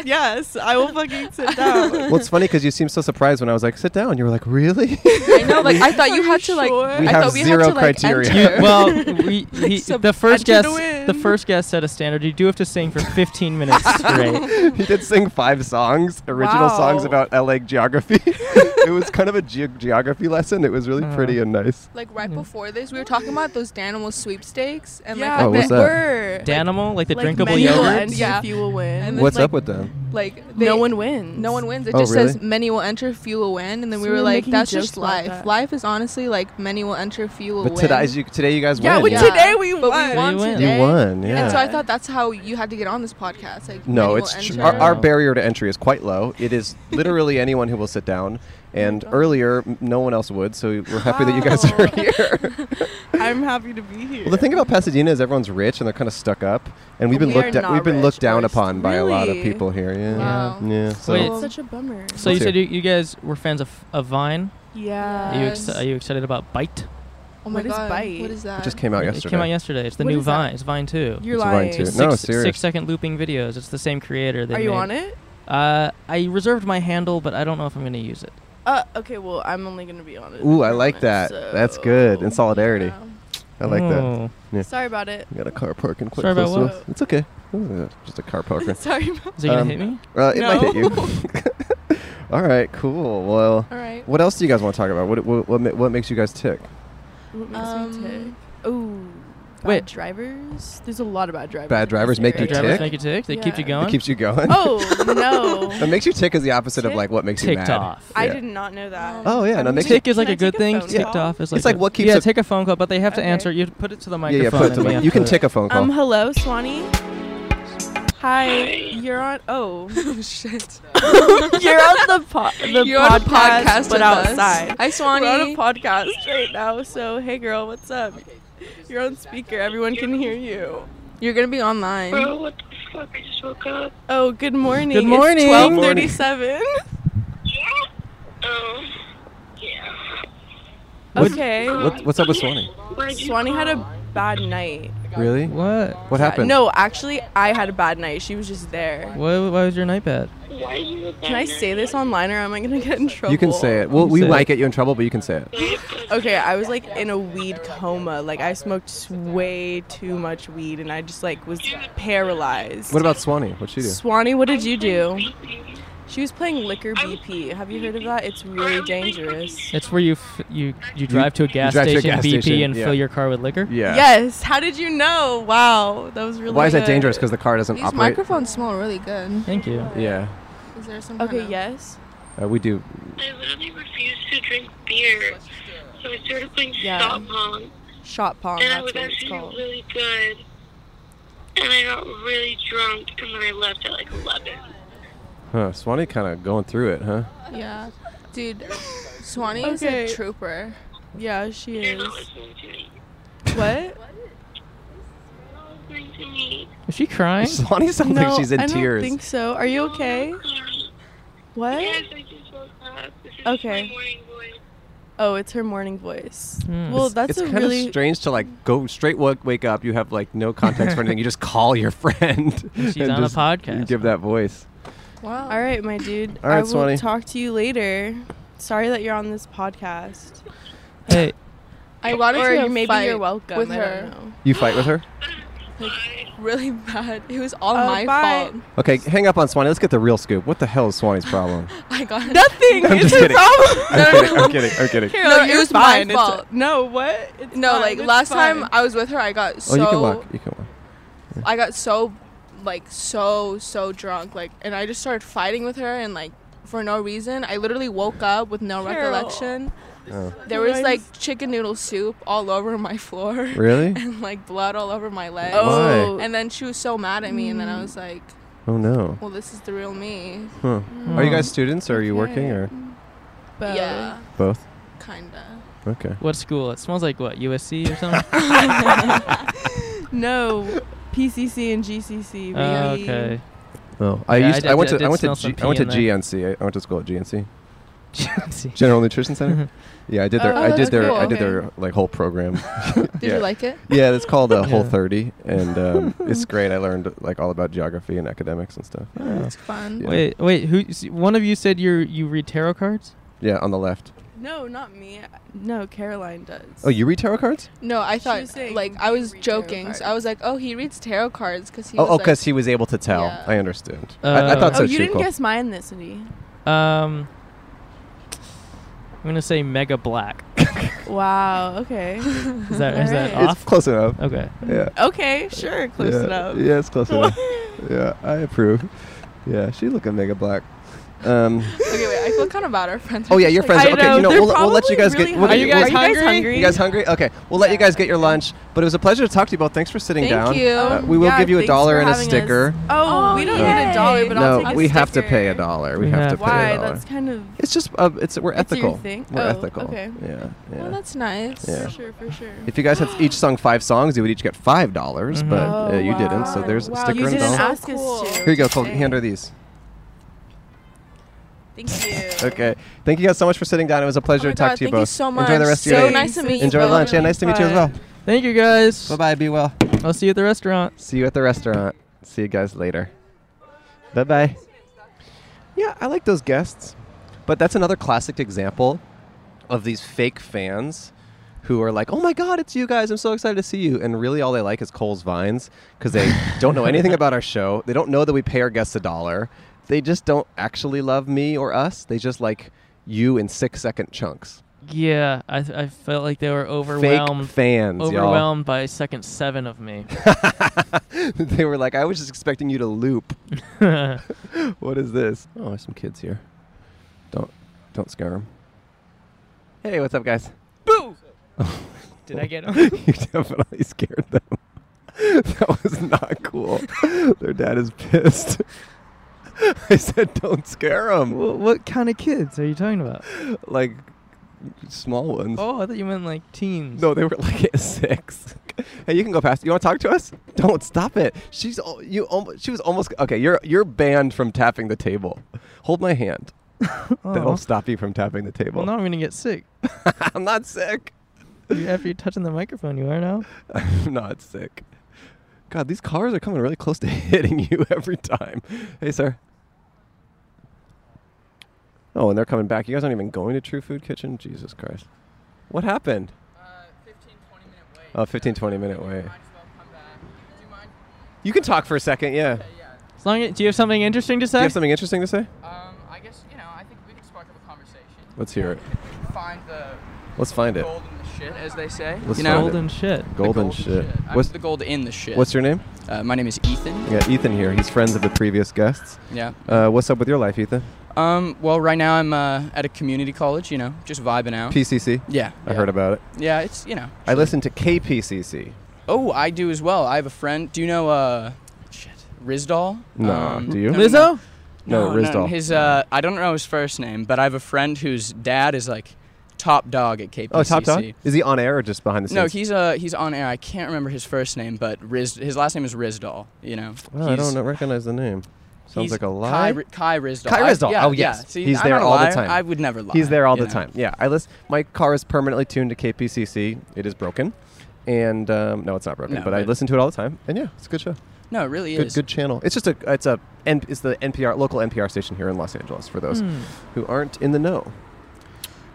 Speaker 7: Yes, I will fucking sit down.
Speaker 2: Well, it's funny because you seemed so surprised when I was like, "Sit down." You were like, "Really?"
Speaker 6: I know, like I thought you
Speaker 7: Are
Speaker 6: had
Speaker 7: you
Speaker 6: to like.
Speaker 7: sure? We
Speaker 6: I
Speaker 2: have
Speaker 6: thought we
Speaker 2: zero
Speaker 6: had to, like,
Speaker 2: criteria.
Speaker 6: enter.
Speaker 2: You-
Speaker 4: well, we, he,
Speaker 7: Sub-
Speaker 4: the first
Speaker 7: enter
Speaker 4: guest,
Speaker 7: to
Speaker 4: the
Speaker 7: win.
Speaker 4: first guest set a standard. You do have to sing for 15 minutes straight.
Speaker 2: he did sing five songs, original
Speaker 7: Wow.
Speaker 2: songs about LA geography. it was kind of a ge- geography lesson. It was really
Speaker 4: Uh-huh.
Speaker 2: pretty and nice.
Speaker 6: like right before this, we were talking about those Danimal sweepstakes and
Speaker 7: yeah,
Speaker 6: like
Speaker 2: Oh,
Speaker 6: the-
Speaker 2: what's
Speaker 7: they
Speaker 2: that?
Speaker 7: were.
Speaker 4: Danimal, like the
Speaker 7: like
Speaker 4: drinkable
Speaker 7: many will
Speaker 4: yogurt.
Speaker 7: enter
Speaker 6: Yeah.
Speaker 7: if you will win.
Speaker 6: And then,
Speaker 2: What's
Speaker 6: like,
Speaker 2: up with So
Speaker 6: Like they,
Speaker 7: no one wins.
Speaker 6: no one wins. It
Speaker 2: Oh,
Speaker 6: just says
Speaker 2: really?
Speaker 6: many will enter, few will win, and then
Speaker 7: So we
Speaker 6: we were
Speaker 7: were
Speaker 6: like,
Speaker 7: making
Speaker 6: that's
Speaker 7: jokes
Speaker 6: just
Speaker 7: about
Speaker 6: life.
Speaker 7: that.
Speaker 6: Life is honestly like many will enter, few will
Speaker 2: but
Speaker 6: win.
Speaker 2: today's you today you guys
Speaker 7: Yeah,
Speaker 2: won.
Speaker 7: but
Speaker 6: Yeah.
Speaker 7: today we
Speaker 6: But
Speaker 7: won.
Speaker 6: we won
Speaker 4: You win.
Speaker 6: today.
Speaker 2: you won. Yeah.
Speaker 6: And so I
Speaker 7: Yeah.
Speaker 6: thought that's how you had to get on this podcast. Like
Speaker 2: No,
Speaker 6: many
Speaker 2: it's
Speaker 6: will
Speaker 2: tr-
Speaker 6: enter.
Speaker 2: our, our
Speaker 4: No.
Speaker 2: barrier to entry is quite low. It is literally anyone who will sit down. And earlier, m- no one else would. So we're happy that you guys
Speaker 7: Oh Wow.
Speaker 2: are here.
Speaker 7: I'm happy to be here.
Speaker 2: well, the thing about Pasadena is everyone's rich and they're kind of stuck up, and we've been
Speaker 7: We are
Speaker 2: looked at,
Speaker 7: not
Speaker 2: we've been
Speaker 7: rich.
Speaker 2: looked down
Speaker 7: We're
Speaker 2: upon by a lot of
Speaker 7: really-
Speaker 2: people here. Yeah.
Speaker 6: Wow.
Speaker 2: Yeah. So
Speaker 4: Wait.
Speaker 7: It's such a bummer.
Speaker 4: So you
Speaker 2: Let's
Speaker 4: said you,
Speaker 2: hear
Speaker 4: you guys were fans of, of Vine.
Speaker 7: yeah.
Speaker 4: Are you, ex-
Speaker 6: Yes.
Speaker 4: are you excited about Bite?
Speaker 6: Oh my
Speaker 7: What is
Speaker 6: god,
Speaker 7: Bite?
Speaker 6: what is that?
Speaker 2: it just came out
Speaker 4: It-
Speaker 2: yesterday.
Speaker 4: It came out yesterday. It's the
Speaker 7: What
Speaker 4: new
Speaker 7: is that?
Speaker 4: Vine. It's Vine 2.
Speaker 7: You're
Speaker 2: It's Vine
Speaker 7: lying.
Speaker 2: too.
Speaker 4: Six,
Speaker 2: No, serious.
Speaker 4: Six second looping videos. It's the same creator. They
Speaker 7: Are you
Speaker 4: made.
Speaker 7: on it?
Speaker 4: Uh, I reserved my handle, but I don't know if I'm going to use it.
Speaker 7: Uh, okay. Well, I'm only gonna be on it.
Speaker 2: Ooh, I
Speaker 7: for a
Speaker 2: like
Speaker 7: minute,
Speaker 2: that.
Speaker 7: so-
Speaker 2: That's good. In solidarity,
Speaker 6: Yeah.
Speaker 2: I like that.
Speaker 4: Oh.
Speaker 7: Sorry about it.
Speaker 2: We got a car parking quite
Speaker 4: Sorry about
Speaker 2: close to
Speaker 7: what?
Speaker 2: us. It's okay. Uh, Just a car parking.
Speaker 7: Sorry. About
Speaker 4: Is it going to hit
Speaker 2: Um,
Speaker 4: me?
Speaker 2: Uh, it might hit
Speaker 7: No.
Speaker 2: you. All right, cool. Well,
Speaker 6: All right.
Speaker 2: what else do you guys want to talk about? What what what, ma- what makes you guys tick?
Speaker 7: what makes me
Speaker 6: Um,
Speaker 7: tick? Ooh. Bad
Speaker 4: Wait.
Speaker 7: drivers. There's a lot of bad drivers.
Speaker 2: Bad
Speaker 7: in this
Speaker 2: drivers make you
Speaker 4: The
Speaker 7: area.
Speaker 4: drivers
Speaker 2: tick?
Speaker 4: make you tick. They keep you
Speaker 7: Yeah.
Speaker 4: going.
Speaker 2: It keeps you going.
Speaker 7: Oh
Speaker 2: what
Speaker 7: no!
Speaker 2: makes you tick is the opposite of like what makes you
Speaker 4: ticked
Speaker 2: mad.
Speaker 4: off.
Speaker 7: I
Speaker 2: Yeah.
Speaker 7: did not know that.
Speaker 2: Oh yeah, no,
Speaker 7: I'm
Speaker 2: makes you
Speaker 4: Tick is
Speaker 7: Can
Speaker 4: like
Speaker 7: I
Speaker 4: a good
Speaker 7: take a
Speaker 4: thing.
Speaker 7: phone
Speaker 4: Ticked
Speaker 7: call?
Speaker 4: off is like
Speaker 2: It's like
Speaker 4: a-
Speaker 2: what keeps
Speaker 4: yeah.
Speaker 2: a-
Speaker 4: Take a phone call, but they have to
Speaker 7: Okay.
Speaker 4: answer. You put it to the
Speaker 2: yeah,
Speaker 4: microphone.
Speaker 2: yeah. Put it to
Speaker 4: and we
Speaker 2: me.
Speaker 4: have
Speaker 2: You can
Speaker 4: to-
Speaker 2: take a phone call.
Speaker 7: Um, hello, Swanee. Hi, you're on. Oh,
Speaker 6: Oh shit.
Speaker 7: you're on the, po- the
Speaker 6: You're on a
Speaker 7: podcast,
Speaker 6: podcast
Speaker 7: but
Speaker 6: with us.
Speaker 7: outside.
Speaker 6: Hi,
Speaker 7: We're on
Speaker 6: Swanee.
Speaker 7: a podcast right now, so hey, girl, what's up? You're on speaker. Everyone can hear you.
Speaker 6: You're gonna be online.
Speaker 8: Bro, what the fuck? I just woke up.
Speaker 7: Oh, good morning.
Speaker 4: Good morning.
Speaker 7: It's 12:37.
Speaker 8: Yeah. Um. Yeah.
Speaker 2: What's-
Speaker 7: Okay.
Speaker 2: What, what's up with Swanee?
Speaker 8: Where'd you
Speaker 7: Swanee had
Speaker 8: call?
Speaker 7: a bad night.
Speaker 2: Really?
Speaker 4: What?
Speaker 2: What happened?
Speaker 7: No, actually, I had a bad night. She was just there.
Speaker 4: Why, why was your night bad?
Speaker 8: Why did you look
Speaker 7: Can I say this online, or am I gonna get in trouble?
Speaker 2: You can say it. Well,
Speaker 4: You
Speaker 2: we
Speaker 4: say
Speaker 2: might
Speaker 4: it.
Speaker 2: get you in trouble, but you can say it.
Speaker 7: Okay, I was like in a weed coma. Like I smoked s- way too much weed, and I just like was paralyzed.
Speaker 2: What about Swanee? What'd she do?
Speaker 7: Swanee? What did you do? She was playing liquor BP. Have you heard of that? It's really dangerous.
Speaker 4: It's where you f- you you drive to a gas
Speaker 2: drive to a
Speaker 4: station
Speaker 2: gas
Speaker 4: BP
Speaker 2: station,
Speaker 4: and
Speaker 2: yeah.
Speaker 4: fill your car with liquor.
Speaker 2: Yeah.
Speaker 7: Yes. How did you know? Wow, that was really.
Speaker 2: Why is that
Speaker 7: good.
Speaker 2: dangerous? Because the car doesn't
Speaker 6: These
Speaker 2: operate.
Speaker 6: microphones smell really good.
Speaker 4: Thank you.
Speaker 2: Yeah,
Speaker 6: Is there some?
Speaker 7: Okay.
Speaker 6: kind of-
Speaker 7: Yes.
Speaker 2: uh, we do.
Speaker 8: I literally refused to drink beer. So I started playing
Speaker 7: Yeah.
Speaker 8: stop pong.
Speaker 7: Shot pong.
Speaker 8: and I
Speaker 7: That's
Speaker 8: was
Speaker 7: what it's
Speaker 8: actually
Speaker 7: called.
Speaker 8: really good. And I got really drunk, and then I left at like 11.
Speaker 2: Huh, Swanee kind of going through it, huh?
Speaker 6: Yeah. Dude, Swanee is a
Speaker 7: Okay.
Speaker 6: trooper.
Speaker 7: Yeah, she
Speaker 8: You're
Speaker 7: is.
Speaker 8: not listening to me.
Speaker 7: What?
Speaker 8: You're not listening to me.
Speaker 4: Is she crying?
Speaker 2: Swanee sounds
Speaker 7: no,
Speaker 2: like she's in
Speaker 7: I
Speaker 2: tears.
Speaker 7: don't think so. Are you okay?
Speaker 8: Yes,
Speaker 7: What?
Speaker 8: I just woke up. This is
Speaker 7: Okay.
Speaker 8: my morning voice.
Speaker 7: Oh, it's her morning voice.
Speaker 4: Hmm.
Speaker 7: Well,
Speaker 2: It's-
Speaker 7: that's
Speaker 2: it's
Speaker 7: a
Speaker 2: kind
Speaker 7: really
Speaker 2: of strange to like go straight wake, wake up. You have like no context for anything. You just call your friend.
Speaker 4: She's
Speaker 2: and
Speaker 4: on a
Speaker 2: just
Speaker 4: podcast.
Speaker 2: Give that voice.
Speaker 6: Wow.
Speaker 7: All right, my dude.
Speaker 2: All right,
Speaker 7: I will
Speaker 2: Swanee.
Speaker 7: talk to you later. Sorry that you're on this podcast.
Speaker 4: Hey,
Speaker 6: I got into
Speaker 7: or
Speaker 6: a
Speaker 7: maybe
Speaker 6: fight
Speaker 7: you're welcome.
Speaker 6: with
Speaker 7: I
Speaker 6: her.
Speaker 7: don't know.
Speaker 2: You fight with her.
Speaker 6: Really bad. It was all
Speaker 7: Oh,
Speaker 6: my
Speaker 7: bye.
Speaker 6: fault.
Speaker 2: Okay, hang up on Swanee. Let's get the real scoop. What the hell is Swanee's problem?
Speaker 6: I got
Speaker 7: Nothing.
Speaker 2: I'm
Speaker 7: it's
Speaker 2: just
Speaker 7: her
Speaker 2: kidding.
Speaker 7: problem.
Speaker 2: I'm kidding. I'm kidding. I'm kidding.
Speaker 7: Carol,
Speaker 6: No, it
Speaker 7: you're
Speaker 6: was uh, my
Speaker 7: fine. It's-
Speaker 6: fault.
Speaker 7: no, what? It's
Speaker 6: No,
Speaker 7: fine.
Speaker 6: like
Speaker 7: It's
Speaker 6: last
Speaker 7: fine.
Speaker 6: time I was with her, I got
Speaker 2: Oh,
Speaker 6: so
Speaker 2: you can walk. You can walk.
Speaker 6: I got so like so so drunk like and I just started fighting with her and like for no reason. I literally woke up with no
Speaker 7: Carol.
Speaker 6: recollection.
Speaker 2: Oh.
Speaker 6: There
Speaker 7: Can
Speaker 6: was
Speaker 7: I
Speaker 6: like chicken noodle soup all over my floor
Speaker 2: Really?
Speaker 6: and like blood all over my legs.
Speaker 7: Oh. Mm.
Speaker 6: And then she was so mad at me and then I was like,
Speaker 2: Oh no.
Speaker 6: well this is the real me.
Speaker 2: Huh. Are you
Speaker 4: Hmm.
Speaker 2: guys students or are you working or
Speaker 7: Bo.
Speaker 6: Yeah,
Speaker 2: both?
Speaker 6: kinda.
Speaker 2: Okay.
Speaker 4: what school? It smells like what? USC or something?
Speaker 7: No, PCC and GCC. Baby.
Speaker 4: oh, okay.
Speaker 2: Oh, I
Speaker 4: Yeah, I
Speaker 2: used.
Speaker 4: did-
Speaker 2: I, went
Speaker 4: I
Speaker 2: to.
Speaker 4: did
Speaker 2: I went to.
Speaker 4: smell some
Speaker 2: G, I went
Speaker 4: pee
Speaker 2: to
Speaker 4: in there.
Speaker 2: GNC. I, I went to school at GNC.
Speaker 4: GNC.
Speaker 2: General Nutrition
Speaker 4: Mm-hmm.
Speaker 2: Center. yeah, I did their.
Speaker 6: Oh,
Speaker 2: I did
Speaker 6: that's
Speaker 2: their.
Speaker 6: cool.
Speaker 2: I did
Speaker 6: Okay.
Speaker 2: their like whole program.
Speaker 6: Did
Speaker 2: yeah.
Speaker 6: you like it?
Speaker 2: Yeah, it's called uh, Whole
Speaker 4: Yeah.
Speaker 2: 30, and um, it's great. I learned like all about geography and academics and stuff.
Speaker 6: It's fun.
Speaker 2: Yeah.
Speaker 4: Wait, wait. Who? s- One of you said you you read tarot cards.
Speaker 2: Yeah, on the left.
Speaker 7: No, not me. No, Caroline does.
Speaker 2: Oh, you read tarot cards?
Speaker 6: No, I
Speaker 7: She was
Speaker 6: thought
Speaker 7: saying
Speaker 6: like
Speaker 7: you
Speaker 6: I was
Speaker 7: read tarot
Speaker 6: joking. So I
Speaker 7: cards.
Speaker 6: was like, oh, he reads tarot cards because he.
Speaker 2: oh,
Speaker 6: was
Speaker 2: oh,
Speaker 6: like-
Speaker 2: because he was able to tell.
Speaker 6: Yeah.
Speaker 2: I understood. I, I
Speaker 4: Uh,
Speaker 2: thought
Speaker 7: Oh,
Speaker 2: so
Speaker 7: you
Speaker 2: too.
Speaker 7: didn't
Speaker 2: Cool.
Speaker 7: guess mine this city.
Speaker 4: Um, I'm gonna say Mega Black.
Speaker 7: Wow. Okay.
Speaker 4: Is that is that
Speaker 7: Alright.
Speaker 2: it's
Speaker 4: off?
Speaker 2: close enough.
Speaker 4: Okay.
Speaker 2: Yeah.
Speaker 7: okay. Sure. Close
Speaker 2: yeah.
Speaker 7: enough.
Speaker 2: Yeah, it's close enough. Yeah, I approve. Yeah, she looking mega black. Um,
Speaker 6: Okay, wait. I feel kind of bad. Our friends.
Speaker 2: oh
Speaker 6: are
Speaker 2: yeah,
Speaker 6: just
Speaker 2: your
Speaker 6: like-
Speaker 2: friends.
Speaker 7: I
Speaker 2: Are, okay,
Speaker 7: know,
Speaker 2: you know,
Speaker 7: they're
Speaker 2: we'll, we'll let you guys
Speaker 7: probably
Speaker 2: get.
Speaker 7: really
Speaker 2: We'll
Speaker 4: Are
Speaker 2: get
Speaker 4: you
Speaker 2: we'll
Speaker 4: guys
Speaker 2: get-
Speaker 4: hungry?
Speaker 2: You guys hungry? Okay, we'll let you guys get your lunch. But it was a pleasure to talk to you both. Thanks for sitting
Speaker 6: Thank
Speaker 2: down.
Speaker 6: you.
Speaker 2: Uh, we will
Speaker 7: Um, Yeah,
Speaker 2: give you a
Speaker 7: thanks
Speaker 2: dollar
Speaker 7: for
Speaker 2: and a
Speaker 7: having us.
Speaker 2: sticker.
Speaker 7: Oh,
Speaker 6: Oh,
Speaker 7: we don't need
Speaker 6: yay.
Speaker 7: a dollar, but I'll
Speaker 2: no,
Speaker 7: take a
Speaker 2: we have to pay a
Speaker 7: sticker.
Speaker 2: dollar. We
Speaker 4: We
Speaker 2: have
Speaker 4: have
Speaker 2: to
Speaker 4: to.
Speaker 2: pay a
Speaker 7: Why?
Speaker 2: dollar.
Speaker 7: That's kind of
Speaker 2: It's just uh, it's we're
Speaker 7: That's your
Speaker 2: ethical.
Speaker 7: thing?
Speaker 2: We're
Speaker 7: Oh,
Speaker 2: ethical.
Speaker 7: okay.
Speaker 2: Yeah, yeah.
Speaker 6: Well, that's nice.
Speaker 2: Yeah.
Speaker 7: for sure, for sure.
Speaker 2: if you guys had each sung five songs, you would each get five dollars,
Speaker 4: Mhm.
Speaker 2: but uh,
Speaker 7: Oh,
Speaker 2: you didn't. So
Speaker 7: wow.
Speaker 2: there's a
Speaker 7: Wow,
Speaker 2: sticker
Speaker 7: you
Speaker 2: and a
Speaker 7: didn't
Speaker 2: dollar.
Speaker 7: ask
Speaker 6: Cool.
Speaker 7: us to.
Speaker 2: Here you go. Cole,
Speaker 7: Dang.
Speaker 2: hand her these.
Speaker 7: Thank you.
Speaker 2: Okay. Thank you guys so much for sitting down. It was a pleasure
Speaker 6: Oh my
Speaker 2: to talk
Speaker 6: God,
Speaker 2: to you
Speaker 6: thank
Speaker 2: both.
Speaker 6: you so much.
Speaker 2: Enjoy the rest of
Speaker 6: So
Speaker 2: your day.
Speaker 6: nice to meet you
Speaker 2: Enjoy
Speaker 6: both.
Speaker 2: lunch. Yeah, nice to meet you as well.
Speaker 4: Thank you guys.
Speaker 2: Bye bye. Be well.
Speaker 4: I'll see you at the restaurant.
Speaker 2: See you at the restaurant. See you guys later. Bye bye. Yeah, I like those guests. But that's another classic example of these fake fans who are like, oh my God, it's you guys. I'm so excited to see you. And really, all they like is Cole's Vines because they don't know anything about our show. They don't know that we pay our guests a dollar. They just don't actually love me or us. They just like you in six second chunks.
Speaker 4: Yeah, I, th- I felt like they were
Speaker 2: Fake
Speaker 4: overwhelmed.
Speaker 2: fans, y'all.
Speaker 4: Overwhelmed by second seven of me.
Speaker 2: they were like, I was just expecting you to loop.
Speaker 4: yeah,
Speaker 2: what is this? Oh, there's some kids here. Don't don't scare them. Hey, what's up, guys? Boo!
Speaker 4: Did I get 'em?
Speaker 2: you definitely scared them. that was not cool. Their dad is pissed. I said, don't scare them.
Speaker 4: Wh- what kind of kids are you talking about?
Speaker 2: Like small ones.
Speaker 4: Oh, I thought you meant like teens.
Speaker 2: No, they were like at six. hey, you can go past. You want to talk to us? Don't stop it. She's al- you. Almost, she was almost okay. You're you're banned from tapping the table. Hold my hand.
Speaker 4: Oh.
Speaker 2: That'll stop you from tapping the table.
Speaker 4: Well, now I'm gonna get sick.
Speaker 2: I'm not sick.
Speaker 4: You- After you're touching the microphone, you are now.
Speaker 2: I'm not sick. God, these cars are coming really close to hitting you every time. Hey, sir. Oh, and they're coming back. You guys aren't even going to True Food Kitchen? Jesus Christ. What happened? Uh, 15, 20 minute wait. Oh, 15, 20 minute wait. You can talk for a second, yeah.
Speaker 4: As long as, do you have something interesting to
Speaker 2: Do
Speaker 4: say?
Speaker 2: you have something interesting to say?
Speaker 9: Um, I guess you know. I think we could spark up a conversation.
Speaker 2: Let's hear it.
Speaker 9: Find the
Speaker 2: Let's find it.
Speaker 9: gold in the shit, as they say.
Speaker 2: Let's
Speaker 9: you
Speaker 2: find
Speaker 9: know,
Speaker 2: it.
Speaker 4: Golden shit.
Speaker 9: The
Speaker 2: Golden
Speaker 9: gold in
Speaker 2: shit.
Speaker 9: I
Speaker 2: What's,
Speaker 9: put the gold in the shit?
Speaker 2: what's your name?
Speaker 9: Uh, my name is Ethan.
Speaker 2: Yeah, Ethan here. He's friends of the previous guests.
Speaker 9: Yeah.
Speaker 2: Uh, what's up with your life, Ethan?
Speaker 9: Um. Well, right now I'm uh, at a community college. You know, just vibing out.
Speaker 2: PCC.
Speaker 9: yeah.
Speaker 2: I heard
Speaker 9: of.
Speaker 2: about it.
Speaker 9: Yeah. It's you know.
Speaker 2: I listen to KPCC.
Speaker 9: Oh, I do as well. I have a friend. Do you know? Uh, shit. Rizdal. Um,
Speaker 2: No, do you?
Speaker 4: Lizzo?
Speaker 2: No, Rizdal.
Speaker 9: His uh, I don't know his first name, but I have a friend whose dad is like top dog at KPCC.
Speaker 2: Oh, Top Dog? Is he on air or just behind the scenes?
Speaker 9: No, he's uh he's on air. I can't remember his first name, but Riz, his last name is Rizdal. You know.
Speaker 2: Well, Oh, I
Speaker 9: He's-
Speaker 2: don't know- recognize the name. Sounds
Speaker 9: he's
Speaker 2: like a
Speaker 9: Kai,
Speaker 2: lie.
Speaker 9: Ri- Kai Rizdal.
Speaker 2: Kai
Speaker 9: I-
Speaker 2: Rizdal.
Speaker 9: yeah,
Speaker 2: Oh,
Speaker 9: yeah.
Speaker 2: yes.
Speaker 9: See,
Speaker 2: He's
Speaker 9: I'm
Speaker 2: there
Speaker 9: not a
Speaker 2: all the
Speaker 9: liar.
Speaker 2: time.
Speaker 9: I would never lie.
Speaker 2: He's there all
Speaker 9: you
Speaker 2: the
Speaker 9: know.
Speaker 2: time. Yeah, I listen. My car is permanently tuned to KPCC. It is broken, and um, no, it's not broken.
Speaker 9: No,
Speaker 2: but, I
Speaker 9: but-
Speaker 2: listen to it all the time, and yeah, it's a good show.
Speaker 9: No, it really
Speaker 2: Good,
Speaker 9: is.
Speaker 2: good channel. It's just a it's a N- it's the NPR local NPR station here in Los Angeles for those
Speaker 4: Hmm.
Speaker 2: who aren't in the know.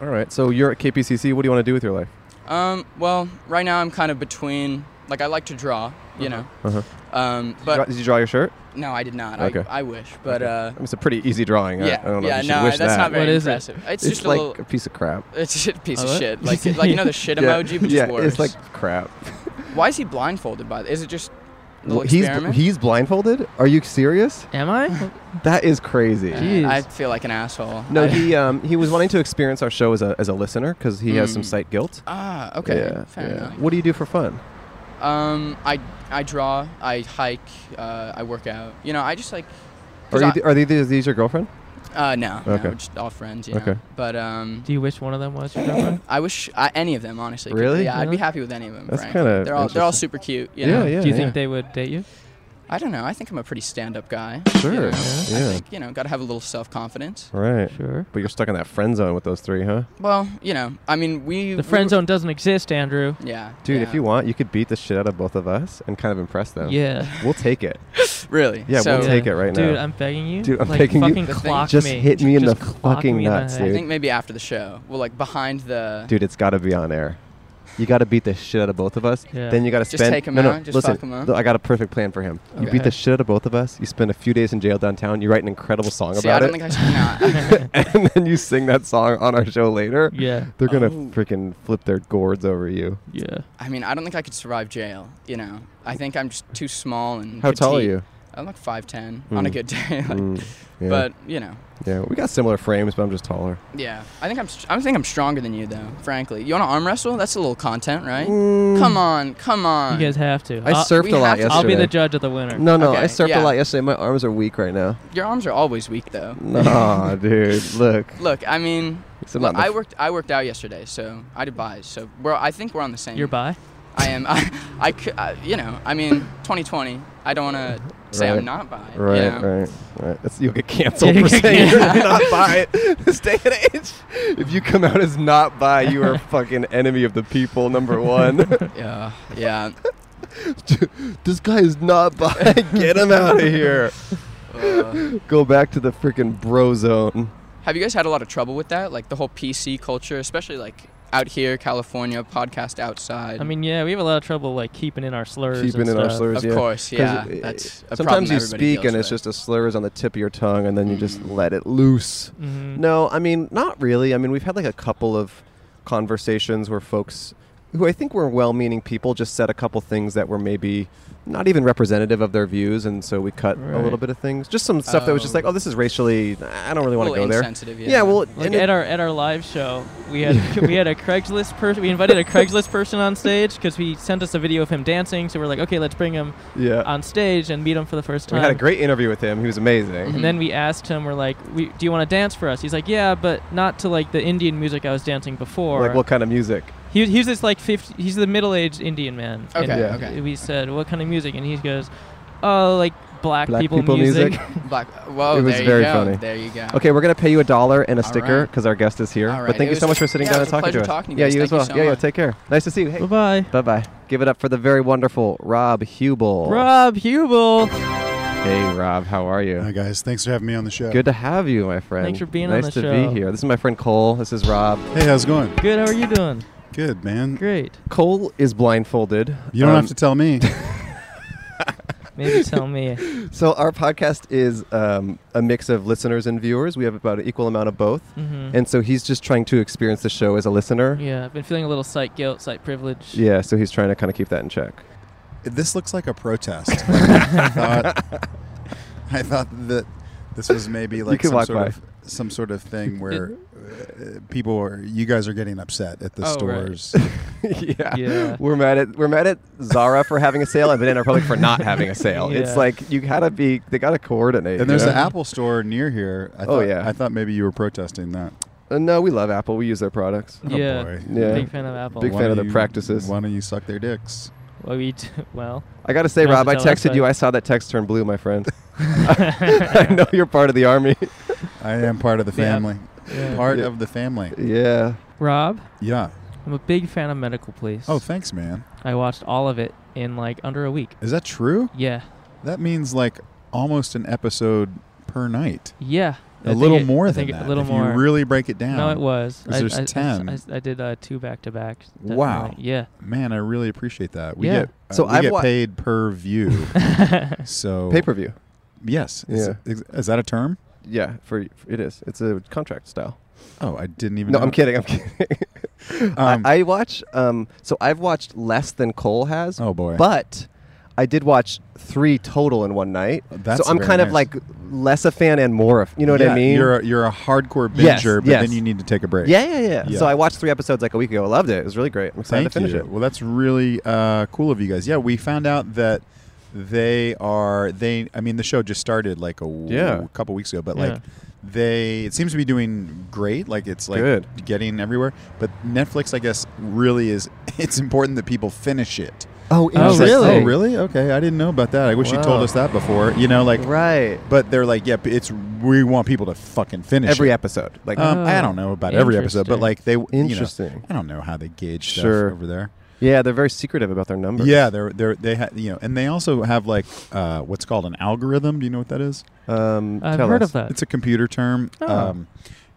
Speaker 2: All right, so you're at KPCC. What do you want to do with your life?
Speaker 9: Um, well, right now I'm kind of between. Like I like to draw. You know.
Speaker 2: Uh-huh.
Speaker 9: Um,
Speaker 2: Dra-
Speaker 9: but
Speaker 2: Did you draw your shirt?
Speaker 9: no, I did not.
Speaker 2: Okay.
Speaker 9: I, I wish, but uh.
Speaker 2: It's a pretty easy drawing. I-
Speaker 9: Yeah,
Speaker 2: I, don't know
Speaker 9: yeah,
Speaker 2: if you should
Speaker 9: no,
Speaker 2: wish
Speaker 9: that's
Speaker 2: that.
Speaker 9: not very
Speaker 4: What is it?
Speaker 9: impressive. It's,
Speaker 2: it's
Speaker 9: just
Speaker 2: like
Speaker 9: a little.
Speaker 2: piece of crap.
Speaker 9: It's just a piece
Speaker 4: Oh,
Speaker 9: of
Speaker 4: what?
Speaker 9: shit. Like, like you know the shit emoji, but
Speaker 2: yeah,
Speaker 9: just worse.
Speaker 2: it's like crap.
Speaker 9: Why is he blindfolded by this? Is it just a little
Speaker 2: Wh- he's
Speaker 9: experiment?
Speaker 2: he's blindfolded. Are you serious?
Speaker 4: Am I?
Speaker 2: That is crazy.
Speaker 9: Uh,
Speaker 4: Jeez.
Speaker 9: I feel like an asshole.
Speaker 2: No,
Speaker 9: I-
Speaker 2: he um, he was wanting to experience our show as a, as a listener because he has some
Speaker 9: Mm.
Speaker 2: sight guilt.
Speaker 9: Ah, okay.
Speaker 2: Yeah,
Speaker 9: Fair
Speaker 2: yeah.
Speaker 9: enough.
Speaker 2: What do you do for fun?
Speaker 9: Um, I I draw, I hike, uh, I work out. You know, I just like.
Speaker 2: Are,
Speaker 9: 'cause
Speaker 2: you, are these, these your girlfriend?
Speaker 9: I, uh, no, no,
Speaker 2: Okay.
Speaker 9: we're just all friends. You know?
Speaker 2: Okay.
Speaker 9: But um,
Speaker 4: Do you wish one of them was your girlfriend?
Speaker 9: I wish I, any of them honestly. 'cause,
Speaker 2: Really?
Speaker 9: Yeah, I'd be
Speaker 4: Yeah.
Speaker 9: happy with any of them.
Speaker 2: That's
Speaker 9: frankly.
Speaker 2: kinda
Speaker 9: They're all they're all
Speaker 2: interesting.
Speaker 9: super cute. You
Speaker 2: yeah,
Speaker 9: know?
Speaker 2: yeah.
Speaker 4: Do you think
Speaker 2: yeah.
Speaker 4: they would date you?
Speaker 9: I don't know. I think I'm a pretty stand-up guy.
Speaker 2: Sure,
Speaker 9: You know?
Speaker 2: yeah.
Speaker 9: I
Speaker 2: Yeah.
Speaker 9: think you know, gotta have a little self-confidence.
Speaker 2: Right.
Speaker 4: Sure.
Speaker 2: But you're stuck in that friend zone with those three, huh?
Speaker 9: Well, you know, I mean, we
Speaker 4: The friend
Speaker 9: we,
Speaker 4: zone doesn't exist, Andrew.
Speaker 9: Yeah.
Speaker 2: Dude,
Speaker 9: yeah.
Speaker 2: if you want, you could beat the shit out of both of us and kind of impress them.
Speaker 4: Yeah.
Speaker 2: We'll take it.
Speaker 9: Really.
Speaker 2: Yeah,
Speaker 9: So,
Speaker 2: we'll take it right
Speaker 4: Dude,
Speaker 2: now.
Speaker 4: I'm begging you.
Speaker 2: Dude, I'm
Speaker 4: like,
Speaker 2: begging you.
Speaker 4: fucking
Speaker 9: The thing-
Speaker 4: Clock
Speaker 2: Just
Speaker 4: me.
Speaker 2: hit me in the
Speaker 4: Just clock
Speaker 2: fucking
Speaker 4: me in the
Speaker 2: nuts,
Speaker 4: head.
Speaker 9: I
Speaker 2: dude.
Speaker 9: think maybe after the show. Well, like behind the.
Speaker 2: Dude, it's got to be on air. You got to beat the shit out of both of us.
Speaker 4: Yeah.
Speaker 2: Then you got to
Speaker 9: Just
Speaker 2: spend.
Speaker 9: take him
Speaker 2: no, no,
Speaker 9: out, just
Speaker 2: listen,
Speaker 9: fuck him up.
Speaker 2: look, I got a perfect plan for him. You beat
Speaker 9: Okay.
Speaker 2: the shit out of both of us. You spend a few days in jail downtown. You write an incredible song
Speaker 9: See, I
Speaker 2: about
Speaker 9: don't
Speaker 2: it.
Speaker 9: think I should. No, I-
Speaker 2: and then you sing that song on our show later,
Speaker 4: Yeah.
Speaker 2: they're gonna
Speaker 9: Oh.
Speaker 2: freaking flip their gourds over you.
Speaker 4: Yeah.
Speaker 9: I mean, I don't think I could survive jail. You know, I think I'm just too small and.
Speaker 2: How tall are
Speaker 9: petite.
Speaker 2: you?
Speaker 9: I'm like 5'10 on a
Speaker 2: Mm.
Speaker 9: good day. like,
Speaker 2: Mm, yeah.
Speaker 9: But, you know,
Speaker 2: yeah, we got similar frames, but I'm just taller.
Speaker 9: yeah. I think I'm str- I think I'm stronger than you though, frankly. You want to arm wrestle? That's a little content, right?
Speaker 2: Mm.
Speaker 9: Come on, come
Speaker 4: You
Speaker 9: on.
Speaker 4: guys have to.
Speaker 2: I
Speaker 4: I'll,
Speaker 2: surfed
Speaker 9: we
Speaker 2: a lot
Speaker 9: have
Speaker 2: yesterday.
Speaker 9: to-
Speaker 4: Uh, I'll be the judge of the winner.
Speaker 2: No, no, I
Speaker 9: Okay,
Speaker 2: surfed
Speaker 9: yeah.
Speaker 2: a lot yesterday. My arms are weak right now.
Speaker 9: Your arms are always weak though.
Speaker 2: Nah, dude, look.
Speaker 9: Look, I mean,
Speaker 2: Hmm. It's not
Speaker 9: look,
Speaker 2: the
Speaker 9: I
Speaker 2: f-
Speaker 9: worked I worked out yesterday, so I did buys. So we're I think we're on the same.
Speaker 4: You're by.
Speaker 9: I am. I, I, cou- I- you know, I mean, 2020. I don't want to say
Speaker 2: Right.
Speaker 9: I'm not bi. you
Speaker 2: Right,
Speaker 9: know?
Speaker 2: right, right. That's, you'll get canceled
Speaker 4: Yeah,
Speaker 2: for
Speaker 4: you get
Speaker 2: saying you're not bi at this day and age. If you come out as not bi, you are a fucking enemy of the people, number one.
Speaker 9: Yeah, yeah.
Speaker 2: this guy is not bi. Get him out of here.
Speaker 9: Uh,
Speaker 2: Go back to the freaking bro zone.
Speaker 9: have you guys had a lot of trouble with that? Like the whole PC culture, especially like out here, California, podcast outside.
Speaker 4: I mean, yeah, we have a lot of trouble like keeping in our slurs.
Speaker 2: Keeping
Speaker 4: and
Speaker 2: in our
Speaker 4: stuff.
Speaker 2: slurs,
Speaker 9: of
Speaker 2: yeah.
Speaker 9: course,
Speaker 2: 'Cause
Speaker 9: yeah.
Speaker 2: it-
Speaker 9: That's a problem
Speaker 2: Sometimes you
Speaker 9: everybody
Speaker 2: speak
Speaker 9: deals
Speaker 2: and it's
Speaker 9: with.
Speaker 2: just a slur is on the tip of your tongue, and then you just
Speaker 9: Mm.
Speaker 2: let it loose.
Speaker 4: Mhm.
Speaker 2: Mm-hmm. No, I mean not really. I mean we've had like a couple of conversations where folks who I think were well-meaning people just said a couple things that were maybe not even representative of their views, and so we cut a little
Speaker 4: Right.
Speaker 2: bit of things. Just some stuff that was just
Speaker 9: Oh.
Speaker 2: like, oh, this is racially. I don't really
Speaker 9: A
Speaker 2: want to
Speaker 9: little
Speaker 2: go there.
Speaker 9: insensitive,
Speaker 2: Yeah,
Speaker 9: yeah.
Speaker 2: well,
Speaker 4: Like
Speaker 2: and it-
Speaker 4: at our at our live show, we had we had a Craigslist person. We invited a Craigslist person on stage because he sent us a video of him dancing. So we're like, okay, let's bring him
Speaker 2: yeah,
Speaker 4: on stage and meet him for the first
Speaker 2: we
Speaker 4: time.
Speaker 2: had a great interview with him. He was amazing.
Speaker 9: Mm-hmm.
Speaker 4: and then we asked him, we're like, we, do you want to dance for us? He's like, yeah, but not to like the Indian music I was dancing before.
Speaker 2: Like what kind of music?
Speaker 4: He, he's this like 50, he's the middle aged Indian man. And
Speaker 9: Okay,
Speaker 2: Yeah.
Speaker 9: okay.
Speaker 4: We said, what kind of music? And he goes, oh, like black,
Speaker 2: Black
Speaker 4: people,
Speaker 2: people
Speaker 4: music.
Speaker 2: music.
Speaker 9: Black. Whoa,
Speaker 2: It was
Speaker 9: there
Speaker 2: very
Speaker 9: you go.
Speaker 2: funny.
Speaker 9: There you go.
Speaker 2: Okay, we're gonna pay you a dollar and a
Speaker 9: All
Speaker 2: sticker
Speaker 9: right.
Speaker 2: because our guest is here.
Speaker 9: All right.
Speaker 2: But thank
Speaker 9: It
Speaker 2: you so
Speaker 9: was-
Speaker 2: much for sitting
Speaker 9: yeah,
Speaker 2: down
Speaker 9: it
Speaker 2: and
Speaker 9: was a
Speaker 2: talking to us.
Speaker 9: pleasure talking to you
Speaker 2: yeah,
Speaker 9: guys.
Speaker 2: you as well.
Speaker 9: Thank you so
Speaker 2: yeah, yeah.
Speaker 9: much.
Speaker 2: Take care. Nice to see you. Hey.
Speaker 4: Bye bye.
Speaker 2: Bye bye. Give it up for the very wonderful Rob Hubel.
Speaker 4: Rob Hubel.
Speaker 2: Hey, Rob. How are you?
Speaker 10: Hi guys, thanks for having me on the show.
Speaker 2: Good to have you, my friend.
Speaker 4: Thanks for being on
Speaker 2: nice
Speaker 4: the
Speaker 2: to
Speaker 4: show.
Speaker 2: be here. This is my friend Cole. This is Rob.
Speaker 10: Hey, how's it going?
Speaker 4: Good. How are you doing?
Speaker 10: Good, man.
Speaker 4: Great.
Speaker 2: Cole is blindfolded.
Speaker 10: You don't
Speaker 2: Um,
Speaker 10: have to tell me.
Speaker 4: Maybe tell me.
Speaker 2: Um, So our podcast is um, a mix of listeners and viewers. We have about an equal amount of both,
Speaker 4: hmm
Speaker 2: and so he's just trying to experience the show as a listener.
Speaker 4: yeah, I've been feeling a little site guilt, site privilege.
Speaker 2: Yeah, so he's trying to kind of keep that in check.
Speaker 10: this looks like a protest. Like, I thought I thought that this was maybe like
Speaker 2: can
Speaker 10: some
Speaker 2: walk
Speaker 10: sort
Speaker 2: by.
Speaker 10: of some sort of thing where uh, people are you guys are getting upset at the
Speaker 4: Oh, right.
Speaker 10: stores.
Speaker 2: yeah.
Speaker 4: Yeah.
Speaker 2: We're mad at we're mad at Zara for having a sale and Banana Republic for not having a sale.
Speaker 4: Yeah.
Speaker 2: It's like you gotta be they gotta coordinate.
Speaker 10: And there's
Speaker 2: you
Speaker 10: an
Speaker 2: know?
Speaker 10: Apple store near here. I
Speaker 2: Oh,
Speaker 10: thought,
Speaker 2: yeah.
Speaker 10: I thought maybe you were protesting that.
Speaker 2: Uh, no, we love Apple. We use their products.
Speaker 10: Oh,
Speaker 4: Yeah.
Speaker 10: boy.
Speaker 2: Yeah.
Speaker 4: Big fan of Apple.
Speaker 2: Big
Speaker 10: Why
Speaker 2: fan of
Speaker 10: don't
Speaker 2: their
Speaker 10: you-
Speaker 2: practices.
Speaker 10: Why don't you suck their dicks?
Speaker 4: Well, we t- well.
Speaker 2: I gotta say,
Speaker 4: Not
Speaker 2: Rob,
Speaker 4: to
Speaker 2: I
Speaker 4: tell us,
Speaker 2: texted you.
Speaker 4: but-
Speaker 2: I saw that text turn blue, my friend. I know you're part of the army.
Speaker 10: I am part of the
Speaker 4: Yeah.
Speaker 10: family.
Speaker 4: Yeah.
Speaker 10: Part
Speaker 2: Yeah.
Speaker 10: of the family.
Speaker 2: Yeah.
Speaker 4: Rob,
Speaker 10: Yeah.
Speaker 4: I'm a big fan of Medical Police.
Speaker 10: Oh, thanks, man.
Speaker 4: I watched all of it in like under a week.
Speaker 10: Is that true?
Speaker 4: Yeah,
Speaker 10: That means like almost an episode per night.
Speaker 4: yeah. I
Speaker 10: A
Speaker 4: think
Speaker 10: little
Speaker 4: it-
Speaker 10: more
Speaker 4: I
Speaker 10: than
Speaker 4: think
Speaker 10: that.
Speaker 4: A little
Speaker 10: if
Speaker 4: more.
Speaker 10: you really break it down.
Speaker 4: no, it was.
Speaker 10: 'Cause
Speaker 4: I,
Speaker 10: there's
Speaker 4: I- I s-
Speaker 10: 10.
Speaker 4: I s- I did uh, two back to back.
Speaker 10: Wow.
Speaker 4: Yeah.
Speaker 10: Man, I really appreciate that. We
Speaker 4: Yeah.
Speaker 10: get uh,
Speaker 2: So
Speaker 10: we
Speaker 2: I've
Speaker 10: get
Speaker 2: wa-
Speaker 10: paid per view. so
Speaker 2: Pay per view.
Speaker 10: Yes. Is,
Speaker 2: Yeah.
Speaker 10: is, is that a term?
Speaker 2: Yeah, for, for it is. It's a contract style.
Speaker 10: Oh, I didn't even.
Speaker 2: No,
Speaker 10: know.
Speaker 2: I'm kidding. I'm kidding.
Speaker 10: Um,
Speaker 2: I, I watch. Um, so I've watched less than Cole has.
Speaker 10: Oh, boy.
Speaker 2: But I did watch three total in one night.
Speaker 10: That's
Speaker 2: so I'm
Speaker 10: very
Speaker 2: kind of
Speaker 10: nice.
Speaker 2: like less a fan and more. Of, you know what
Speaker 10: Yeah,
Speaker 2: I mean?
Speaker 10: You're a, you're a hardcore binger,
Speaker 2: Yes,
Speaker 10: but
Speaker 2: yes.
Speaker 10: then you need to take a break.
Speaker 2: yeah, yeah, yeah,
Speaker 10: Yeah.
Speaker 2: So I watched three episodes like a week ago. I loved it. It was really great. I'm excited
Speaker 10: Thank
Speaker 2: to finish
Speaker 10: you.
Speaker 2: it.
Speaker 10: Well, that's really uh, cool of you guys. Yeah, we found out that they are they. I mean, the show just started like a w-
Speaker 2: Yeah.
Speaker 10: couple weeks ago, but
Speaker 4: Yeah.
Speaker 10: like they, it seems to be doing great. Like it's like
Speaker 2: Good.
Speaker 10: getting everywhere. But Netflix, I guess, really is. It's important that people finish it.
Speaker 2: Oh,
Speaker 10: I was like,
Speaker 4: really?
Speaker 10: oh, really? Okay, I didn't know about that. I wish you told
Speaker 2: Wow.
Speaker 10: us that before. You know, like.
Speaker 2: Right.
Speaker 10: But they're like, yeah, it's we want people to fucking finish
Speaker 2: Every
Speaker 10: it.
Speaker 2: episode. Like,
Speaker 10: Um, I
Speaker 4: Oh,
Speaker 10: don't know about every episode, but
Speaker 4: interesting.
Speaker 10: like they, You
Speaker 2: Interesting.
Speaker 10: know, I don't know how they gauge
Speaker 2: Sure.
Speaker 10: stuff over there.
Speaker 2: yeah, they're very secretive about their numbers.
Speaker 10: Yeah, they're they're they ha- you know, and they also have like uh, what's called an algorithm. Do you know what that is?
Speaker 2: Um,
Speaker 4: I've
Speaker 2: tell
Speaker 4: heard
Speaker 2: us.
Speaker 4: of that.
Speaker 10: It's a computer term.
Speaker 4: Oh.
Speaker 10: Um,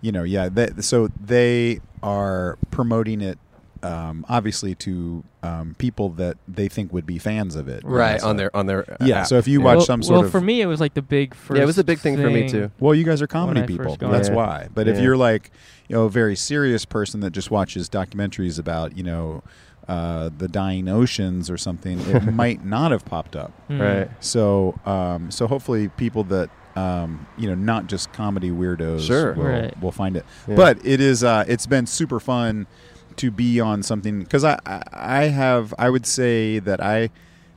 Speaker 10: you know, yeah. They, so they are promoting it, um, obviously to um, people that they think would be fans of it. you know,
Speaker 2: Right
Speaker 10: so-
Speaker 2: on their on their uh,
Speaker 10: Yeah,
Speaker 2: app.
Speaker 10: so if you
Speaker 2: Yeah.
Speaker 10: watch
Speaker 4: well,
Speaker 10: some
Speaker 4: well,
Speaker 10: sort
Speaker 4: for
Speaker 10: of-
Speaker 4: me, it was like the big first.
Speaker 2: yeah, it was a big thing for me too.
Speaker 10: Well, you guys are comedy
Speaker 4: When I first
Speaker 10: people.
Speaker 4: got
Speaker 10: That's
Speaker 2: it.
Speaker 10: why. But if
Speaker 2: Oh, Yeah.
Speaker 10: you're like, you know, a very serious person that just watches documentaries about, you know, uh, the dying oceans or something, it might not have popped up.
Speaker 4: Hmm.
Speaker 2: Right.
Speaker 10: So, um, so hopefully, people that um, you know, not just comedy weirdos,
Speaker 2: Sure.
Speaker 10: will,
Speaker 4: Right.
Speaker 10: will find it.
Speaker 2: Yeah.
Speaker 10: But it is, uh, it's been super fun to be on something because I, I, I have, I would say that I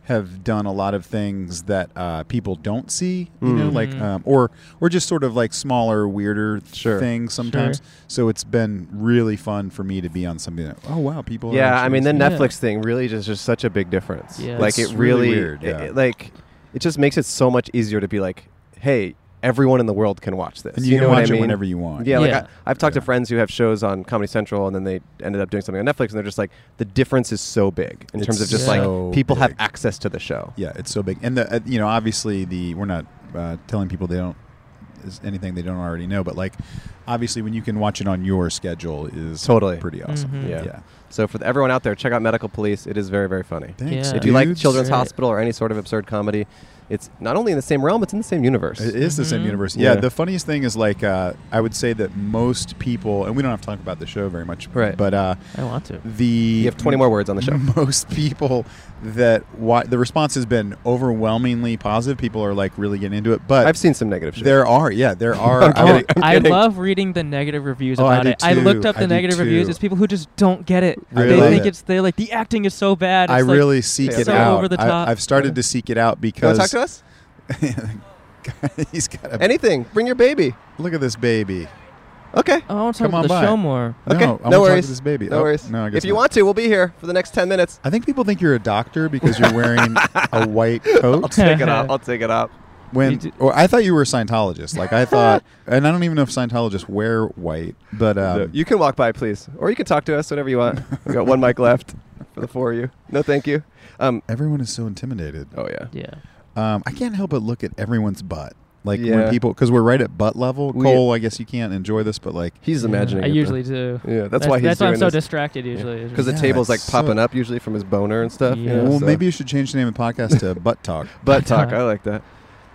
Speaker 10: have done a lot of things that uh, people don't see, you know,
Speaker 2: Hmm.
Speaker 10: like
Speaker 4: Mhm.
Speaker 10: um, or or just sort of like smaller, weirder
Speaker 2: Sure.
Speaker 10: things sometimes. So it's been really fun for me to be on something that, oh wow, people. are
Speaker 2: Yeah, I
Speaker 10: actually
Speaker 2: mean the
Speaker 10: listening.
Speaker 4: Yeah.
Speaker 2: Netflix thing really just just such a big difference.
Speaker 4: Yeah.
Speaker 2: Like
Speaker 10: It's
Speaker 2: it
Speaker 10: really
Speaker 2: really,
Speaker 10: weird,
Speaker 2: it-
Speaker 10: yeah.
Speaker 2: it, like it just makes it so much easier to be like, hey, everyone in the world can watch this.
Speaker 10: and you, can
Speaker 2: know what
Speaker 10: watch
Speaker 2: I mean?
Speaker 10: it whenever you want.
Speaker 2: Yeah, like
Speaker 4: Yeah.
Speaker 2: I, I've talked
Speaker 10: Yeah.
Speaker 2: to friends who have shows on Comedy Central, and then they ended up doing something on Netflix, and they're just like, the difference is so big in
Speaker 10: It's
Speaker 2: terms of just
Speaker 10: so
Speaker 2: like people have
Speaker 10: big.
Speaker 2: access to the show.
Speaker 10: Yeah, it's so big, and the uh, you know obviously the we're not uh, telling people they don't is anything they don't already know, but like obviously when you can watch it on your schedule is
Speaker 2: Totally.
Speaker 10: pretty
Speaker 5: Mm-hmm.
Speaker 10: awesome.
Speaker 4: Mhm.
Speaker 2: Yeah.
Speaker 10: yeah,
Speaker 2: So for everyone out there, check out Medical Police. It is very very funny.
Speaker 10: thanks.
Speaker 4: Yeah.
Speaker 2: If you like
Speaker 10: dudes.
Speaker 2: Children's
Speaker 4: Right.
Speaker 2: Hospital or any sort of absurd comedy, it's not only in the same realm, it's in the same universe.
Speaker 10: It is the same
Speaker 5: Mm-hmm.
Speaker 4: Mhm.
Speaker 10: universe. Yeah,
Speaker 2: Yeah.
Speaker 10: The funniest thing is like uh, I would say that most people, and we don't have to talk about the show very much,
Speaker 2: Right.
Speaker 10: But uh,
Speaker 4: I want to.
Speaker 10: the
Speaker 2: You have 20 more words on the show.
Speaker 10: Most people that wa- the response has been overwhelmingly positive. People are like really getting into it, but
Speaker 2: I've seen some negative shit.
Speaker 10: there are yeah there are.
Speaker 2: I'm
Speaker 10: I would-
Speaker 2: kidding.
Speaker 4: I
Speaker 2: kidding.
Speaker 4: love reading the negative reviews
Speaker 10: Oh, I
Speaker 4: about
Speaker 10: do
Speaker 4: it. I looked
Speaker 10: too.
Speaker 4: up
Speaker 10: I
Speaker 4: the
Speaker 10: do
Speaker 4: negative
Speaker 10: too.
Speaker 4: reviews. It's people who just don't get it.
Speaker 10: I
Speaker 4: they
Speaker 10: love
Speaker 4: think
Speaker 10: it.
Speaker 4: it's they're like the acting is so bad.
Speaker 10: I
Speaker 4: It's like,
Speaker 10: really seek
Speaker 2: it's
Speaker 10: it
Speaker 2: so
Speaker 10: out.
Speaker 4: over the top.
Speaker 10: I, have started to seek it out
Speaker 2: You want
Speaker 10: because
Speaker 2: to talk to us?
Speaker 10: he's got a
Speaker 2: Anything. Bring your baby.
Speaker 10: look at this baby.
Speaker 2: Okay.
Speaker 4: Oh, I want to talk
Speaker 10: Come on
Speaker 4: about
Speaker 10: by.
Speaker 4: the show more.
Speaker 10: No,
Speaker 2: Okay.
Speaker 10: I wanna
Speaker 2: no
Speaker 10: talk to
Speaker 2: worries.
Speaker 10: this baby.
Speaker 2: No
Speaker 10: Oh,
Speaker 2: worries.
Speaker 10: no, I guess
Speaker 2: if you
Speaker 10: not.
Speaker 2: want to, we'll be here for the next 10 minutes.
Speaker 10: I think people think you're a doctor because you're wearing a white
Speaker 2: I'll
Speaker 10: coat.
Speaker 2: take it off. I'll take it off.
Speaker 10: When
Speaker 4: You do-
Speaker 10: or I thought you were a Scientologist. Like I thought, and I don't even know if Scientologists wear white, but um,
Speaker 2: you can walk by, please. Or you can talk to us whenever you want. we got one mic left for the four of you. No, thank you. Um,
Speaker 10: everyone is so intimidated.
Speaker 2: oh, yeah.
Speaker 4: Yeah.
Speaker 10: Um, I can't help but look at everyone's butt. Like when
Speaker 2: Yeah.
Speaker 10: people, because we're right at butt level.
Speaker 2: We-
Speaker 10: Cole, I guess you can't enjoy this, but like
Speaker 2: He's imagining
Speaker 4: I
Speaker 2: it, though.
Speaker 4: usually do.
Speaker 2: Yeah, that's, why he's
Speaker 4: that's why
Speaker 2: doing
Speaker 4: I'm so
Speaker 2: this.
Speaker 4: distracted usually. is
Speaker 2: Because
Speaker 10: Yeah,
Speaker 2: the table's like
Speaker 10: it's
Speaker 2: popping
Speaker 10: so-
Speaker 2: up usually from his boner and stuff.
Speaker 4: Yeah.
Speaker 10: well,
Speaker 2: so-
Speaker 10: maybe you should change the name of the podcast to Butt Talk.
Speaker 2: Butt talk. I like that.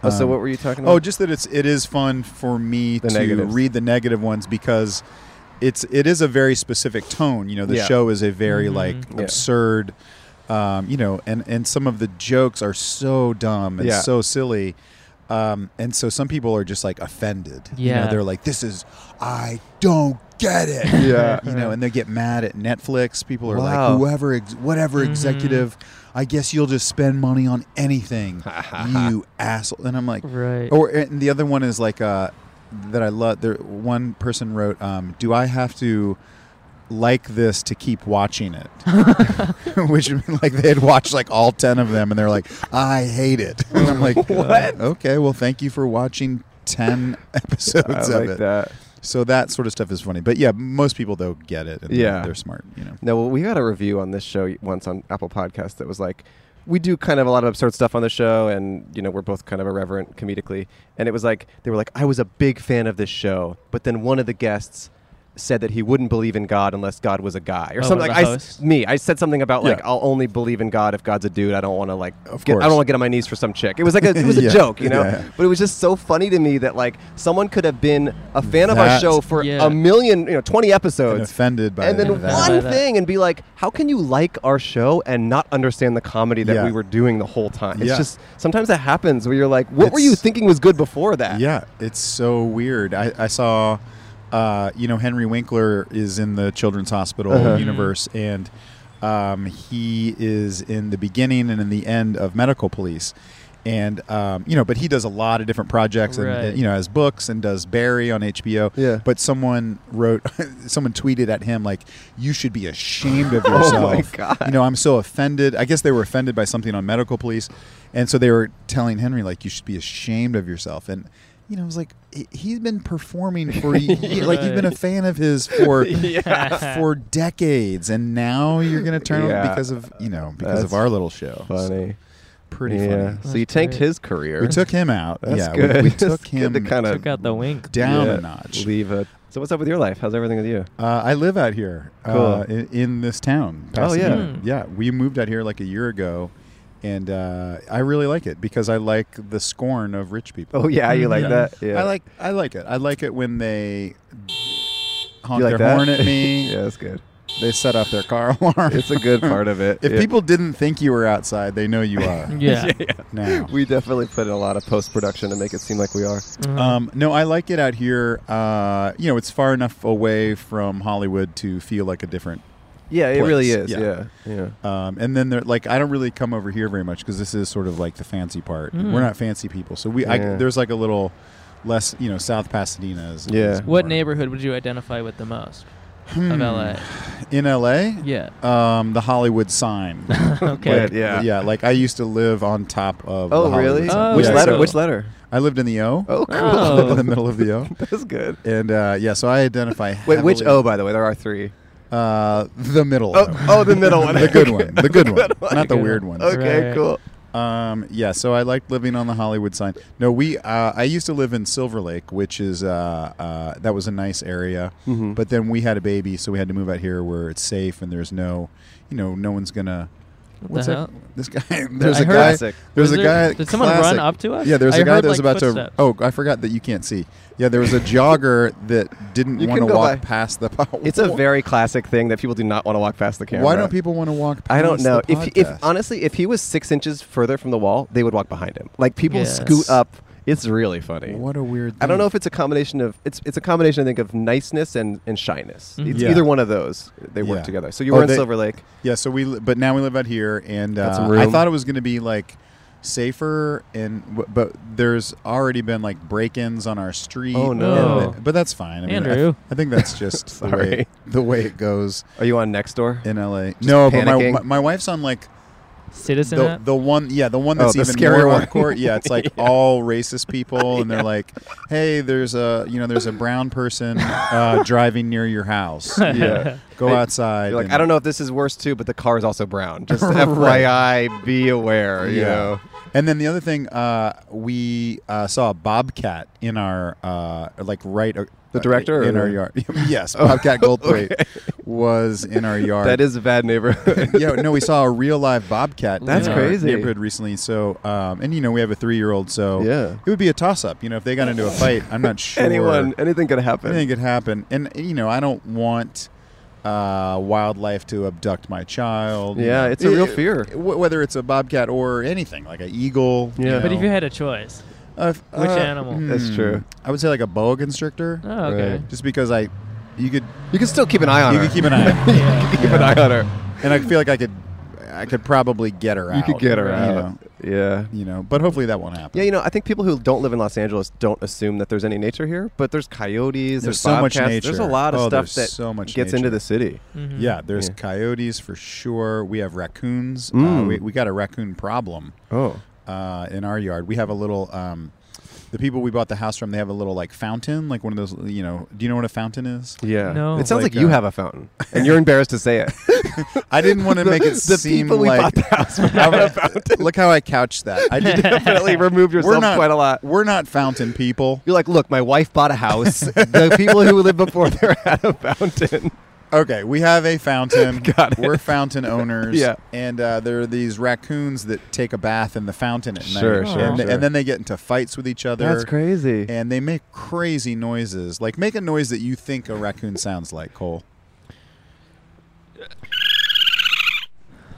Speaker 2: Oh, so
Speaker 10: Um,
Speaker 2: what were you talking about?
Speaker 10: Oh, just that it's it is fun for me
Speaker 2: The
Speaker 10: to
Speaker 2: negatives.
Speaker 10: read the negative ones because it's it is a very specific tone. You know, the
Speaker 2: Yeah.
Speaker 10: show is a very
Speaker 4: Mhm.
Speaker 10: like
Speaker 2: Yeah.
Speaker 10: absurd. Um, you know, and and some of the jokes are so dumb and
Speaker 2: Yeah.
Speaker 10: so silly. Um, and so some people are just like offended. You
Speaker 4: Yeah.
Speaker 10: know, they're like, "This is I don't
Speaker 2: Oh,
Speaker 10: get it."
Speaker 2: yeah.
Speaker 10: You know, and they get mad at Netflix. People are
Speaker 2: Wow.
Speaker 10: like, "Whoever, ex- whatever
Speaker 4: Mhm.
Speaker 10: executive, I guess you'll just spend money on anything, you asshole." And I'm like,
Speaker 4: Right.
Speaker 10: or and the other one is like uh, that I love. There, one person wrote, um, "Do I have to like this to keep watching it?" Which would mean, like they had watched like all ten of them, and they're like, "I hate it." and I'm like,
Speaker 2: What?
Speaker 10: Okay, well, thank you for watching ten
Speaker 2: I
Speaker 10: episodes of
Speaker 2: like
Speaker 10: it."
Speaker 2: that.
Speaker 10: So that sort of stuff is funny, but yeah, most people though get it. And
Speaker 2: Yeah.
Speaker 10: they're, they're smart, you know.
Speaker 2: No, well, we got a review on this show once on Apple Podcasts that was like, we do kind of a lot of absurd stuff on the show, and you know we're both kind of irreverent comedically. And it was like they were like, I was a big fan of this show, but then one of the guests said that he wouldn't believe in God unless God was a guy or
Speaker 4: Oh,
Speaker 2: something.
Speaker 4: one of
Speaker 2: Like
Speaker 4: the
Speaker 2: I, s-
Speaker 4: hosts.
Speaker 2: me, I said something about like
Speaker 10: Yeah.
Speaker 2: I'll only believe in God if God's a dude. I don't want to like,
Speaker 10: Of
Speaker 2: get, I
Speaker 10: course.
Speaker 2: don't want to get on my knees for some chick. It was like a, it was
Speaker 10: Yeah.
Speaker 2: a joke, you know.
Speaker 10: Yeah.
Speaker 2: But it was just so funny to me that like someone could have been a fan of our
Speaker 10: That-
Speaker 2: show for
Speaker 4: Yeah.
Speaker 2: a million, you know, twenty
Speaker 10: And
Speaker 2: episodes,
Speaker 10: offended by
Speaker 2: and then
Speaker 10: that.
Speaker 4: By
Speaker 2: one
Speaker 4: that.
Speaker 2: thing and be like, how can you like our show and not understand the comedy that
Speaker 10: Yeah.
Speaker 2: we were doing the whole time? It's
Speaker 10: Yeah.
Speaker 2: just sometimes that happens where you're like, what were
Speaker 10: It's-
Speaker 2: you thinking was good before that?
Speaker 10: Yeah, it's so weird. I, I saw, uh, you know, Henry Winkler is in the Children's Hospital
Speaker 2: Uh-huh.
Speaker 10: universe, and um, he is in the beginning and in the end of Medical Police. And um, you know, but he does a lot of different projects, and
Speaker 4: Right.
Speaker 10: you know, has books and does Barry on HBO.
Speaker 2: Yeah.
Speaker 10: But someone wrote, someone tweeted at him like, "You should be ashamed of
Speaker 2: Oh
Speaker 10: yourself."
Speaker 2: my God.
Speaker 10: You know, I'm so offended. I guess they were offended by something on medical police, and so they were telling Henry like, "You should be ashamed of yourself." And you know, I was like, "He- "He's been performing for ye- like you've been a fan of his for for decades, and now you're gonna turn on
Speaker 2: Yeah.
Speaker 10: because of you know because of
Speaker 2: That's
Speaker 10: our little show." It's
Speaker 2: Funny.
Speaker 10: pretty
Speaker 2: yeah.
Speaker 10: funny.
Speaker 2: So you tanked
Speaker 4: great.
Speaker 2: his career.
Speaker 10: We took him out.
Speaker 2: That's
Speaker 10: yeah, we-
Speaker 2: good.
Speaker 10: We,
Speaker 2: It's
Speaker 10: took
Speaker 2: good
Speaker 10: him
Speaker 2: to kind of
Speaker 4: Took out the wink.
Speaker 10: down a notch.
Speaker 2: Leave it. So what's up with your life? How's everything with you?
Speaker 10: Uh, I live out here uh,
Speaker 2: Cool.
Speaker 10: in, in this town.
Speaker 2: Oh, yeah.
Speaker 10: Pasadena.
Speaker 4: Hmm.
Speaker 10: yeah. We moved out here like a year ago, and uh, I really like it because I like the scorn of rich people.
Speaker 2: Oh yeah, you like
Speaker 10: Yeah.
Speaker 2: that? Yeah.
Speaker 10: I like I like it. I like it when they honk
Speaker 2: you like
Speaker 10: their
Speaker 2: that?
Speaker 10: horn at me.
Speaker 2: yeah, that's good.
Speaker 10: they set off their car alarm.
Speaker 2: It's a good part of it.
Speaker 10: If
Speaker 2: Yeah.
Speaker 10: people didn't think you were outside, they know you are.
Speaker 4: Yeah.
Speaker 10: Now.
Speaker 2: we definitely put in a lot of post production to make it seem like we are.
Speaker 10: Um, no, I like it out here. Uh, you know, it's far enough away from Hollywood to feel like a different.
Speaker 2: Yeah, it
Speaker 10: Place,
Speaker 2: really is.
Speaker 10: yeah.
Speaker 2: Yeah, yeah.
Speaker 10: Um, and then there, like, I don't really come over here very much because this is sort of like the fancy part.
Speaker 4: Mm.
Speaker 10: We're not fancy people, so we I,
Speaker 2: Yeah.
Speaker 10: there's like a little less. You know, South Pasadena is.
Speaker 2: Yeah.
Speaker 10: is
Speaker 4: What
Speaker 10: more-
Speaker 4: neighborhood would you identify with the most
Speaker 10: Hmm.
Speaker 4: of LA?
Speaker 10: In L.A.
Speaker 4: Yeah.
Speaker 10: Um, the Hollywood sign.
Speaker 4: Okay.
Speaker 10: Like, yeah. Like I used to live on top of. the
Speaker 2: Oh,
Speaker 10: Hollywood
Speaker 2: really?
Speaker 10: sign.
Speaker 4: Oh,
Speaker 2: Which
Speaker 10: Yeah,
Speaker 2: letter?
Speaker 10: so
Speaker 2: Which letter?
Speaker 10: I lived in the O.
Speaker 2: Oh, cool.
Speaker 10: I lived in the
Speaker 4: Oh.
Speaker 10: middle of the O.
Speaker 2: That's good.
Speaker 10: And uh, yeah, so I identify.
Speaker 2: Wait, which
Speaker 10: heavily-
Speaker 2: O? By the way, there are three.
Speaker 10: Uh, the middle.
Speaker 2: Oh,
Speaker 10: O.
Speaker 2: oh, the middle one.
Speaker 10: the good one. The good one. Not the
Speaker 4: Good
Speaker 10: weird
Speaker 4: one.
Speaker 10: one.
Speaker 2: Okay,
Speaker 4: Right.
Speaker 2: cool.
Speaker 10: Um, yeah, so I liked living on the Hollywood sign. No, we. Uh, I used to live in Silver Lake, which is uh, uh, that was a nice area.
Speaker 2: Mhm.
Speaker 10: Mm-hmm. But then we had a baby, so we had to move out here where it's safe and there's no, you know, no one's gonna.
Speaker 4: What
Speaker 10: What's
Speaker 4: the
Speaker 10: that?
Speaker 4: hell?
Speaker 10: This guy. There's
Speaker 4: I
Speaker 10: a
Speaker 4: heard-
Speaker 10: guy.
Speaker 2: Classic.
Speaker 10: There's
Speaker 4: Was
Speaker 10: a
Speaker 4: there-
Speaker 10: guy.
Speaker 4: Did someone run
Speaker 10: classic.
Speaker 4: up to us?
Speaker 10: Yeah, there's
Speaker 4: I
Speaker 10: a guy
Speaker 4: heard,
Speaker 10: that was
Speaker 4: like,
Speaker 10: about
Speaker 4: footsteps.
Speaker 10: to. Oh, I forgot that you can't see. Yeah, there was a jogger that didn't
Speaker 2: You
Speaker 10: want
Speaker 2: can
Speaker 10: to
Speaker 2: go
Speaker 10: walk
Speaker 2: by.
Speaker 10: past the. power.
Speaker 2: It's a very classic thing that people do not want to walk past the camera.
Speaker 10: Why don't people want to walk? Past
Speaker 2: I don't know.
Speaker 10: the
Speaker 2: If, if
Speaker 10: podcast?
Speaker 2: honestly, if he was six inches further from the wall, they would walk behind him. Like people
Speaker 4: Yes.
Speaker 2: scoot up. It's really funny.
Speaker 10: what a weird.
Speaker 2: I don't know
Speaker 10: thing.
Speaker 2: if it's a combination of it's it's a combination I think of niceness and and shyness.
Speaker 4: Mhm.
Speaker 2: It's
Speaker 10: Mm-hmm. Yeah.
Speaker 2: either one of those. They work
Speaker 10: Yeah.
Speaker 2: together. So you
Speaker 10: Oh,
Speaker 2: were in
Speaker 10: they-
Speaker 2: Silver Lake.
Speaker 10: Yeah, so we, li- but now we live out here, and
Speaker 2: Got
Speaker 10: uh,
Speaker 2: some
Speaker 10: I
Speaker 2: room.
Speaker 10: thought it was going to be like safer, and w- but there's already been like break-ins on our street.
Speaker 2: Oh,
Speaker 10: and
Speaker 4: no.
Speaker 10: the- but that's fine. I mean, I,
Speaker 4: Andrew.
Speaker 10: I think that's just the way
Speaker 2: Sorry.
Speaker 10: the way it goes
Speaker 2: Are you on next door?
Speaker 10: in LA. no, but my,
Speaker 2: panicking?
Speaker 10: my my wife's on like
Speaker 4: Citizen
Speaker 10: the,
Speaker 4: app?
Speaker 10: the one yeah the one
Speaker 2: Oh,
Speaker 10: that's
Speaker 2: the
Speaker 10: even
Speaker 2: scary
Speaker 10: more
Speaker 2: one.
Speaker 10: on court yeah it's like all racist people and they're like hey there's a you know there's a brown person uh, driving near your house
Speaker 2: Yeah.
Speaker 10: go
Speaker 2: They-
Speaker 10: outside
Speaker 2: You're like,
Speaker 10: and-
Speaker 2: I don't know if this is worse too, but the car is also brown. Just
Speaker 10: Right.
Speaker 2: FYI, be aware. You
Speaker 10: Yeah.
Speaker 2: know.
Speaker 10: And then the other thing, uh, we uh, saw a bobcat in our uh, like right. Uh,
Speaker 2: The director
Speaker 10: in
Speaker 2: or-
Speaker 10: our yard. yes, Bobcat Goldthwait was in our yard.
Speaker 2: That is a bad neighborhood.
Speaker 10: yeah, no, we saw a real live bobcat.
Speaker 4: That's
Speaker 10: in
Speaker 2: crazy.
Speaker 10: Our neighborhood recently. So, um, and you know, we have a three-year-old, so
Speaker 2: Yeah.
Speaker 10: it would be a toss-up. You know, if they got into a fight, I'm not sure
Speaker 2: Anyone, anything could happen.
Speaker 10: anything could happen. And you know, I don't want uh, wildlife to abduct my child. you
Speaker 2: Yeah,
Speaker 10: know.
Speaker 2: it's a real fear.
Speaker 10: w- whether it's a bobcat or anything like an eagle.
Speaker 2: Yeah.
Speaker 4: But if
Speaker 10: know.
Speaker 4: you had a choice,
Speaker 10: Uh, f-
Speaker 4: Which
Speaker 10: Oh. uh,
Speaker 4: animal?
Speaker 2: That's true.
Speaker 10: I would say like a boa constrictor,
Speaker 4: oh, okay.
Speaker 2: Right.
Speaker 10: just because I, you could
Speaker 2: You can still keep an eye on
Speaker 10: you
Speaker 2: her.
Speaker 10: could keep an eye,
Speaker 4: Yeah.
Speaker 2: Keep an eye on her.
Speaker 10: and I feel like I could, I could probably get her out.
Speaker 2: You could get her
Speaker 10: you
Speaker 2: out. Yeah.
Speaker 10: know, you know, but hopefully that won't happen.
Speaker 2: Yeah, you know, I think people who don't live in Los Angeles don't assume that there's any nature here, but there's
Speaker 10: There's
Speaker 2: coyotes, there's,
Speaker 10: so much
Speaker 2: bobcats, There's a
Speaker 10: nature.
Speaker 2: lot of
Speaker 10: Oh,
Speaker 2: stuff
Speaker 10: there's
Speaker 2: that
Speaker 10: so much
Speaker 2: gets
Speaker 10: nature.
Speaker 2: into the city.
Speaker 4: Mhm.
Speaker 10: Yeah, there's
Speaker 2: Yeah.
Speaker 10: coyotes for sure. We have raccoons. Uh,
Speaker 2: Mm.
Speaker 10: we, we got a raccoon problem
Speaker 2: Oh,
Speaker 10: uh, in our yard. We have a little. Um, the people we bought the house from, they have a little like fountain, like one of those. You know, do you know what a fountain is?
Speaker 2: yeah.
Speaker 4: No.
Speaker 2: It sounds
Speaker 10: Like,
Speaker 2: like, you
Speaker 10: uh,
Speaker 2: have a fountain, and you're embarrassed to say it.
Speaker 10: I didn't want to make it
Speaker 2: the
Speaker 10: seem
Speaker 2: people we
Speaker 10: like
Speaker 2: bought the house from
Speaker 10: I'm-
Speaker 2: have a fountain.
Speaker 10: Look how I couched that. I did,
Speaker 2: Definitely remove yourself
Speaker 10: not-
Speaker 2: quite a lot.
Speaker 10: we're not fountain people.
Speaker 2: You're like, look, my wife bought a house. the people who lived before there had a fountain.
Speaker 10: Okay, we have a fountain.
Speaker 2: Got it.
Speaker 10: We're fountain owners.
Speaker 2: Yeah.
Speaker 10: And uh, there are these raccoons that take a bath in the fountain at
Speaker 2: Sure,
Speaker 10: night.
Speaker 2: sure,
Speaker 10: and,
Speaker 2: sure.
Speaker 10: and then they get into fights with each other.
Speaker 2: That's crazy.
Speaker 10: And they make crazy noises. Like, make a noise that you think a raccoon sounds like, Cole.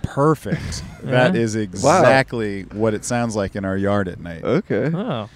Speaker 10: Perfect. That
Speaker 4: Yeah.
Speaker 10: is exactly what it sounds like in our yard at night.
Speaker 2: Okay.
Speaker 4: Oh.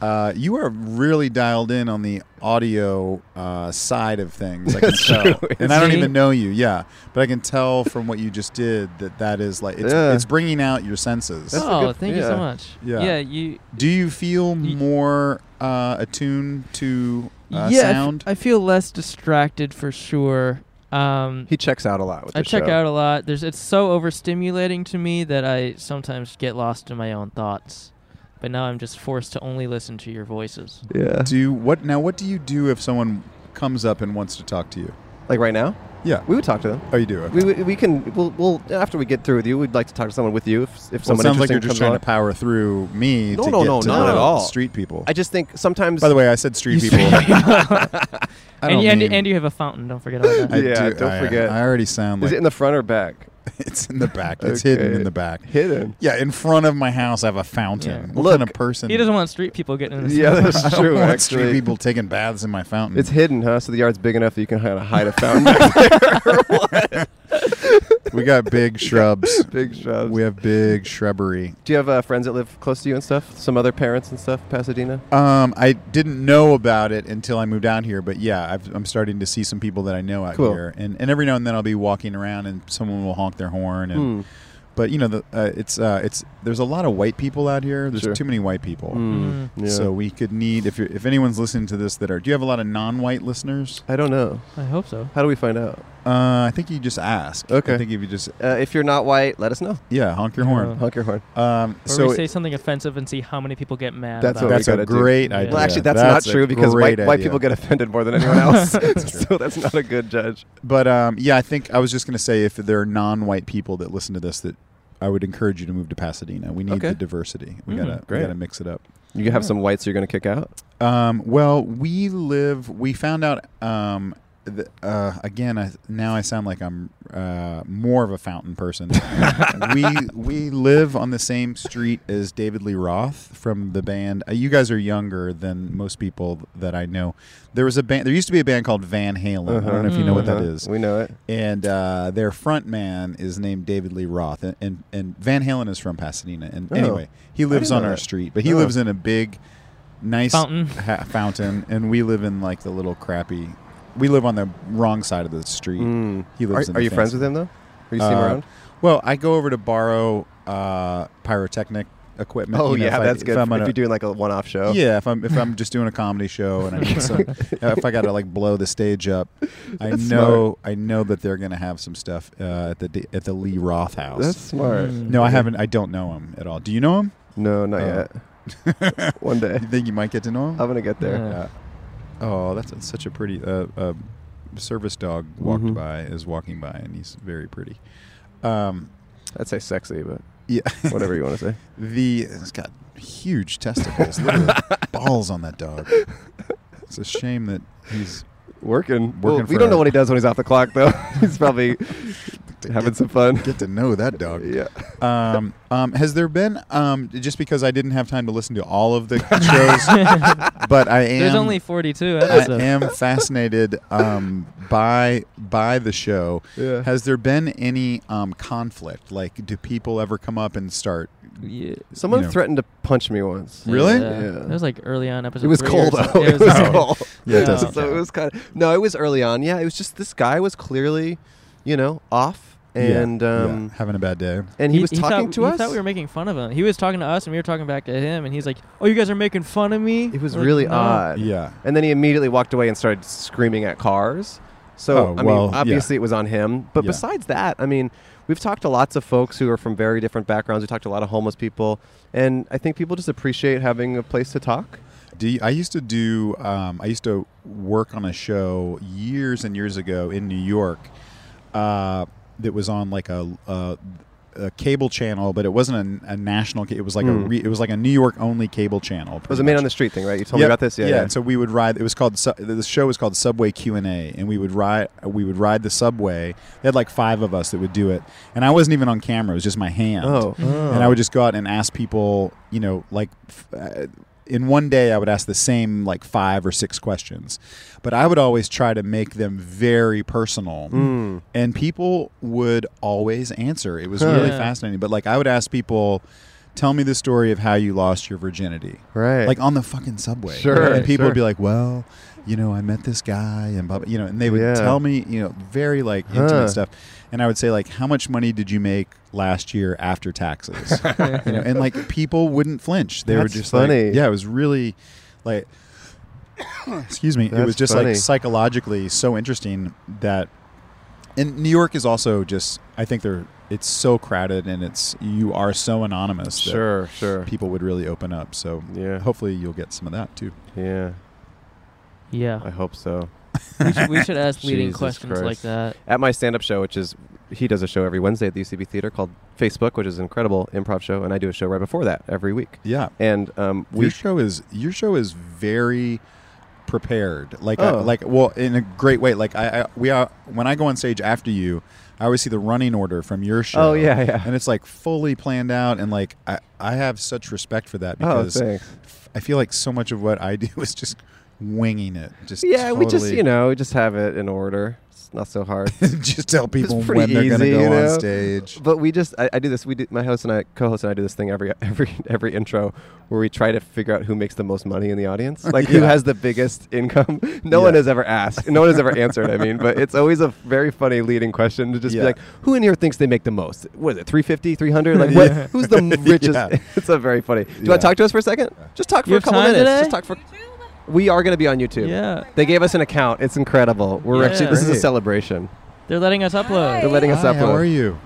Speaker 10: Uh, you are really dialed in on the audio uh, side of things. I can tell, and I don't
Speaker 4: See?
Speaker 10: even know you. Yeah, but I can tell from what you just did that that is like it's,
Speaker 2: Yeah.
Speaker 10: it's bringing out your senses.
Speaker 2: That's a
Speaker 4: oh,
Speaker 2: good-
Speaker 4: thank you so
Speaker 2: yeah.
Speaker 4: much.
Speaker 10: Yeah.
Speaker 4: Yeah, you.
Speaker 10: Do you feel
Speaker 4: Y-
Speaker 10: more uh, attuned to uh,
Speaker 4: yeah, I f-
Speaker 10: sound?
Speaker 4: I feel less distracted for sure. Um,
Speaker 2: He checks out a lot with
Speaker 4: I
Speaker 2: the
Speaker 4: check
Speaker 2: show.
Speaker 4: out a lot. There's it's so overstimulating to me that I sometimes get lost in my own thoughts. But now I'm just forced to only listen to your voices.
Speaker 2: Yeah.
Speaker 10: do you, what now? What do you do if someone comes up and wants to talk to you?
Speaker 2: Like right now,
Speaker 10: Yeah.
Speaker 2: we would talk to them.
Speaker 10: Oh, you do. Okay.
Speaker 2: We, we, we can we'll, we'll after we get through with you, we'd like to talk to someone with you if, if
Speaker 10: Well, it
Speaker 2: someone
Speaker 10: sounds like you're just
Speaker 2: interesting comes
Speaker 10: trying
Speaker 2: along.
Speaker 10: to power through me
Speaker 2: No,
Speaker 10: to
Speaker 2: no,
Speaker 10: get
Speaker 2: no,
Speaker 10: to
Speaker 2: not
Speaker 10: the
Speaker 2: at all.
Speaker 10: street people.
Speaker 2: I just think sometimes.
Speaker 10: By the way, I said street
Speaker 4: You
Speaker 10: people. I
Speaker 4: And,
Speaker 10: don't
Speaker 4: you- and,
Speaker 10: mean-
Speaker 4: and you have a fountain. Don't forget about that.
Speaker 10: I
Speaker 2: Yeah,
Speaker 10: do,
Speaker 2: don't
Speaker 10: I,
Speaker 2: forget.
Speaker 10: I already sound
Speaker 2: is
Speaker 10: like
Speaker 2: it in the front or back?
Speaker 10: It's in the back. It's hidden
Speaker 2: Okay.
Speaker 10: in the back.
Speaker 2: Hidden.
Speaker 10: Yeah, in front of my house, I have a fountain.
Speaker 4: Yeah.
Speaker 10: What kind of person?
Speaker 4: He doesn't want street people getting in his
Speaker 2: Yeah,
Speaker 10: I
Speaker 2: that's
Speaker 10: don't
Speaker 2: true.
Speaker 10: want
Speaker 2: actually,
Speaker 10: street people taking baths in my fountain.
Speaker 2: it's hidden, huh? So the yard's big enough that you can kind of hide a fountain. back
Speaker 10: we got big shrubs.
Speaker 2: there. big shrubs.
Speaker 10: We have big shrubbery.
Speaker 2: Do you have uh, friends that live close to you and stuff? Some other parents and stuff, Pasadena.
Speaker 10: Um, I didn't know about it until I moved out here, but yeah, I've, I'm starting to see some people that I know out
Speaker 2: Cool.
Speaker 10: here, and and every now and then I'll be walking around and someone will honk their horn, and
Speaker 2: Hmm.
Speaker 10: but you know the uh, it's uh, it's there's a lot of white people out here. There's
Speaker 2: Sure.
Speaker 10: too many white people.
Speaker 2: Mm.
Speaker 4: Hmm.
Speaker 2: Yeah.
Speaker 10: Hmm. So we could need if you're, if anyone's listening to this that are do you have a lot of non-white listeners?
Speaker 2: I don't know.
Speaker 4: I hope so.
Speaker 2: How do we find out?
Speaker 10: Uh, I think you just ask.
Speaker 2: Okay.
Speaker 10: I think if you just
Speaker 2: Uh, if you're not white, let us know.
Speaker 10: yeah honk your horn.
Speaker 2: Honk your horn.
Speaker 10: Um,
Speaker 4: Or
Speaker 10: so
Speaker 4: we say something offensive and see how many people get mad.
Speaker 2: That's
Speaker 4: about
Speaker 2: what
Speaker 4: it.
Speaker 10: that's
Speaker 2: we
Speaker 10: a
Speaker 2: gotta do.
Speaker 10: great idea.
Speaker 4: Yeah. Well,
Speaker 2: Well, actually, that's,
Speaker 10: That's
Speaker 2: not
Speaker 10: a
Speaker 2: true because
Speaker 10: great
Speaker 2: white, white
Speaker 10: idea.
Speaker 2: people get offended more than anyone else.
Speaker 10: That's
Speaker 2: so that's not a good judge.
Speaker 10: But um, yeah, I think I was just going to say if there are non-white people that listen to this, that I would encourage you to move to Pasadena. We need
Speaker 2: Okay. Mm-hmm.
Speaker 10: the diversity. We
Speaker 4: Mhm,
Speaker 10: gotta we
Speaker 2: great.
Speaker 10: gotta mix it up.
Speaker 2: You have some whites you're going to kick out.
Speaker 10: Um, well, we live. We found out. Um, th- uh, again, I, now I sound like I'm uh, more of a fountain person. we we live on the same street as David Lee Roth from the band. Uh, you guys are younger than most people that I know. There was a band. There used to be a band called Van Halen. I don't know if you know what that
Speaker 2: Uh-huh.
Speaker 10: is
Speaker 2: We know it.
Speaker 10: and uh, their front man is named David Lee Roth, and and, and Van Halen is from Pasadena. And
Speaker 2: Oh.
Speaker 10: anyway, he lives
Speaker 2: didn't
Speaker 10: on
Speaker 2: know
Speaker 10: our
Speaker 2: that.
Speaker 10: street, but he
Speaker 2: Oh.
Speaker 10: lives in a big, nice
Speaker 4: Fountain.
Speaker 10: ha- fountain, and we live in like the little crappy. We live on the wrong side of the street.
Speaker 2: Mm.
Speaker 10: He
Speaker 2: Are,
Speaker 10: lives. in
Speaker 2: are
Speaker 10: the
Speaker 2: you friends
Speaker 10: fancy-
Speaker 2: with him though? Are you see him
Speaker 10: Uh,
Speaker 2: around?
Speaker 10: Well, I go over to borrow uh, pyrotechnic equipment.
Speaker 2: Oh
Speaker 10: you know,
Speaker 2: yeah,
Speaker 10: if I-
Speaker 2: that's
Speaker 10: if
Speaker 2: good.
Speaker 10: I'm
Speaker 2: If,
Speaker 10: gonna-
Speaker 2: you're doing like a one-off show,
Speaker 10: yeah, if I'm if I'm just doing a comedy show and I need some, uh, if I got to like blow the stage up, I
Speaker 2: That's
Speaker 10: know I know that they're gonna have some stuff uh, at the D- at the Lee Roth house.
Speaker 2: that's smart.
Speaker 10: no, I haven't. I don't know him at all. Do you know him?
Speaker 2: No, not
Speaker 10: Oh.
Speaker 2: yet. One day,
Speaker 10: You think you might get to know him?
Speaker 2: I'm gonna get there.
Speaker 4: Yeah.
Speaker 10: oh, that's such a pretty. Uh, uh, service dog walked
Speaker 2: Mhm.
Speaker 10: by is walking by and he's very pretty. Um,
Speaker 2: I'd say sexy, but
Speaker 10: yeah,
Speaker 2: whatever you want to say.
Speaker 10: The it's got huge testicles, literally balls on that dog. It's a shame that he's
Speaker 2: Working,
Speaker 10: Well,
Speaker 2: we
Speaker 10: for
Speaker 2: don't know
Speaker 10: a-
Speaker 2: what he does when he's off the clock though. he's probably having some fun.
Speaker 10: get to know that dog.
Speaker 2: Yeah.
Speaker 10: um, um, has there been um, just because I didn't have time to listen to all of the shows, but I am
Speaker 4: There's only 42
Speaker 10: I
Speaker 4: episodes.
Speaker 10: am fascinated um, by by the show.
Speaker 2: Yeah.
Speaker 10: Has there been any um, conflict? Like, do people ever come up and start?
Speaker 4: Yeah.
Speaker 2: Someone
Speaker 10: know.
Speaker 2: threatened to punch me once.
Speaker 10: Really?
Speaker 4: Yeah.
Speaker 2: Yeah.
Speaker 4: It was like early on episode.
Speaker 2: It was
Speaker 4: three or
Speaker 2: cold
Speaker 4: something.
Speaker 2: though.
Speaker 4: Yeah,
Speaker 2: It was
Speaker 4: cold.
Speaker 2: cold.
Speaker 10: Yeah,
Speaker 4: it doesn't
Speaker 2: so
Speaker 10: count.
Speaker 2: it was kind of no. It was early on. Yeah, it was just this guy was clearly, you know, off, and
Speaker 10: Yeah,
Speaker 2: um,
Speaker 10: yeah, having a bad day.
Speaker 2: and he, was talking
Speaker 4: thought,
Speaker 2: to
Speaker 4: he
Speaker 2: us.
Speaker 4: thought we were making fun of him. He was talking to us, and we were talking back to him. And he's like, "Oh, you guys are making fun of me."
Speaker 2: it was
Speaker 4: We're like,
Speaker 2: really
Speaker 4: "No."
Speaker 2: odd.
Speaker 10: Yeah.
Speaker 2: And then he immediately walked away and started screaming at cars. So
Speaker 10: Oh,
Speaker 2: I
Speaker 10: well,
Speaker 2: mean,
Speaker 10: yeah.
Speaker 2: obviously it was on him. But
Speaker 10: Yeah.
Speaker 2: besides that, I mean, we've talked to lots of folks who are from very different backgrounds. We talked to a lot of homeless people, and I think people just appreciate having a place to talk.
Speaker 10: Do you, I used to do? Um, I used to work on a show years and years ago in New York uh, that was on like a, a, a cable channel, but it wasn't a, a national. ca- It was like a
Speaker 2: Mm.
Speaker 10: re, it was like a New York only cable channel.
Speaker 2: It was a
Speaker 10: pretty
Speaker 2: man
Speaker 10: much.
Speaker 2: on the street thing, right? You told me
Speaker 10: Yep.
Speaker 2: about this. Yeah.
Speaker 10: And so we would ride. It was called Su- the show was called Subway Q and A, and we would ride. We would ride the subway. They had like five of us that would do it, and I wasn't even on camera. It was just my hand.
Speaker 2: Oh.
Speaker 4: Mm-hmm.
Speaker 10: And I would just go out and ask people, you know, like f- uh, in one day I would ask the same like five or six questions, but I would always try to make them very personal.
Speaker 2: Mm.
Speaker 10: And people would always answer. It was
Speaker 2: Huh.
Speaker 10: really
Speaker 4: Yeah.
Speaker 10: fascinating. But like I would ask people, tell me the story of how you lost your virginity
Speaker 2: Right.
Speaker 10: like on the fucking subway.
Speaker 2: Sure,
Speaker 10: And people
Speaker 2: sure.
Speaker 10: would be like, "Well, you know, I met this guy and blah, blah you know," and they would
Speaker 2: Yeah.
Speaker 10: tell me, you know, very like intimate
Speaker 2: Huh.
Speaker 10: stuff. And I would say like, "How much money did you make last year after taxes?" you know, and like people wouldn't flinch. They
Speaker 2: That's
Speaker 10: were just
Speaker 2: funny.
Speaker 10: like, "Yeah, it was really like excuse me, it
Speaker 2: That's
Speaker 10: was just
Speaker 2: funny.
Speaker 10: like psychologically so interesting that and New York is also just I think they're it's so crowded and it's you are so anonymous that
Speaker 2: sure. Sure.
Speaker 10: people would really open up. So
Speaker 2: Yeah.
Speaker 10: hopefully you'll get some of that too.
Speaker 2: Yeah. I
Speaker 4: Yeah.
Speaker 2: hope so.
Speaker 4: we, should, we should ask leading
Speaker 2: Jesus
Speaker 4: questions like
Speaker 2: Christ.
Speaker 4: that.
Speaker 2: at my stand-up show, which is he does a show every Wednesday at the UCB Theater called Facebook, which is an incredible improv show, and I do a show right before that every week.
Speaker 10: Yeah,
Speaker 2: And um,
Speaker 10: your
Speaker 2: we
Speaker 10: show is your show is very prepared. Like, I-
Speaker 2: Oh.
Speaker 10: like well, in a great way. Like I, I we are when I go on stage after you, I always see the running order from your show.
Speaker 2: Oh, yeah, yeah.
Speaker 10: And it's like fully planned out, and like I, I have such respect for that
Speaker 2: Oh,
Speaker 10: because
Speaker 2: thanks.
Speaker 10: I feel like so much of what I do is just winging it. Just
Speaker 2: Yeah, we just
Speaker 10: totally-
Speaker 2: you know we just have it in order. It's not so hard.
Speaker 10: just tell people
Speaker 2: it's pretty
Speaker 10: when they're going to
Speaker 2: easy,
Speaker 10: go
Speaker 2: you
Speaker 10: on
Speaker 2: know?
Speaker 10: stage.
Speaker 2: But we just I, I do this. We do my host and I co-host and I do this thing every every every intro where we try to figure out who makes the most money in the audience, like who
Speaker 10: Yeah.
Speaker 2: has the biggest income. No one
Speaker 10: Yeah.
Speaker 2: has ever asked. No one has ever answered. I mean, but it's always a very funny leading question to just
Speaker 10: Yeah.
Speaker 2: be like, who in here thinks they make the most? What is it? 350, 300? Like what?
Speaker 10: Yeah.
Speaker 2: Who's the m- richest?
Speaker 10: Yeah.
Speaker 2: it's a very funny. Do you
Speaker 10: Yeah. Uh,
Speaker 2: want to talk to us for a second? Just talk for
Speaker 4: You
Speaker 2: a
Speaker 4: have
Speaker 2: couple
Speaker 4: time
Speaker 2: minutes.
Speaker 4: today?
Speaker 2: Just talk for. We are going to be on YouTube.
Speaker 4: Yeah.
Speaker 2: They gave us an account. It's incredible. We're
Speaker 4: Yeah.
Speaker 2: actually this is a
Speaker 10: Great.
Speaker 2: celebration.
Speaker 4: They're letting us upload.
Speaker 2: They're letting us
Speaker 10: Hi,
Speaker 2: upload.
Speaker 10: how are you?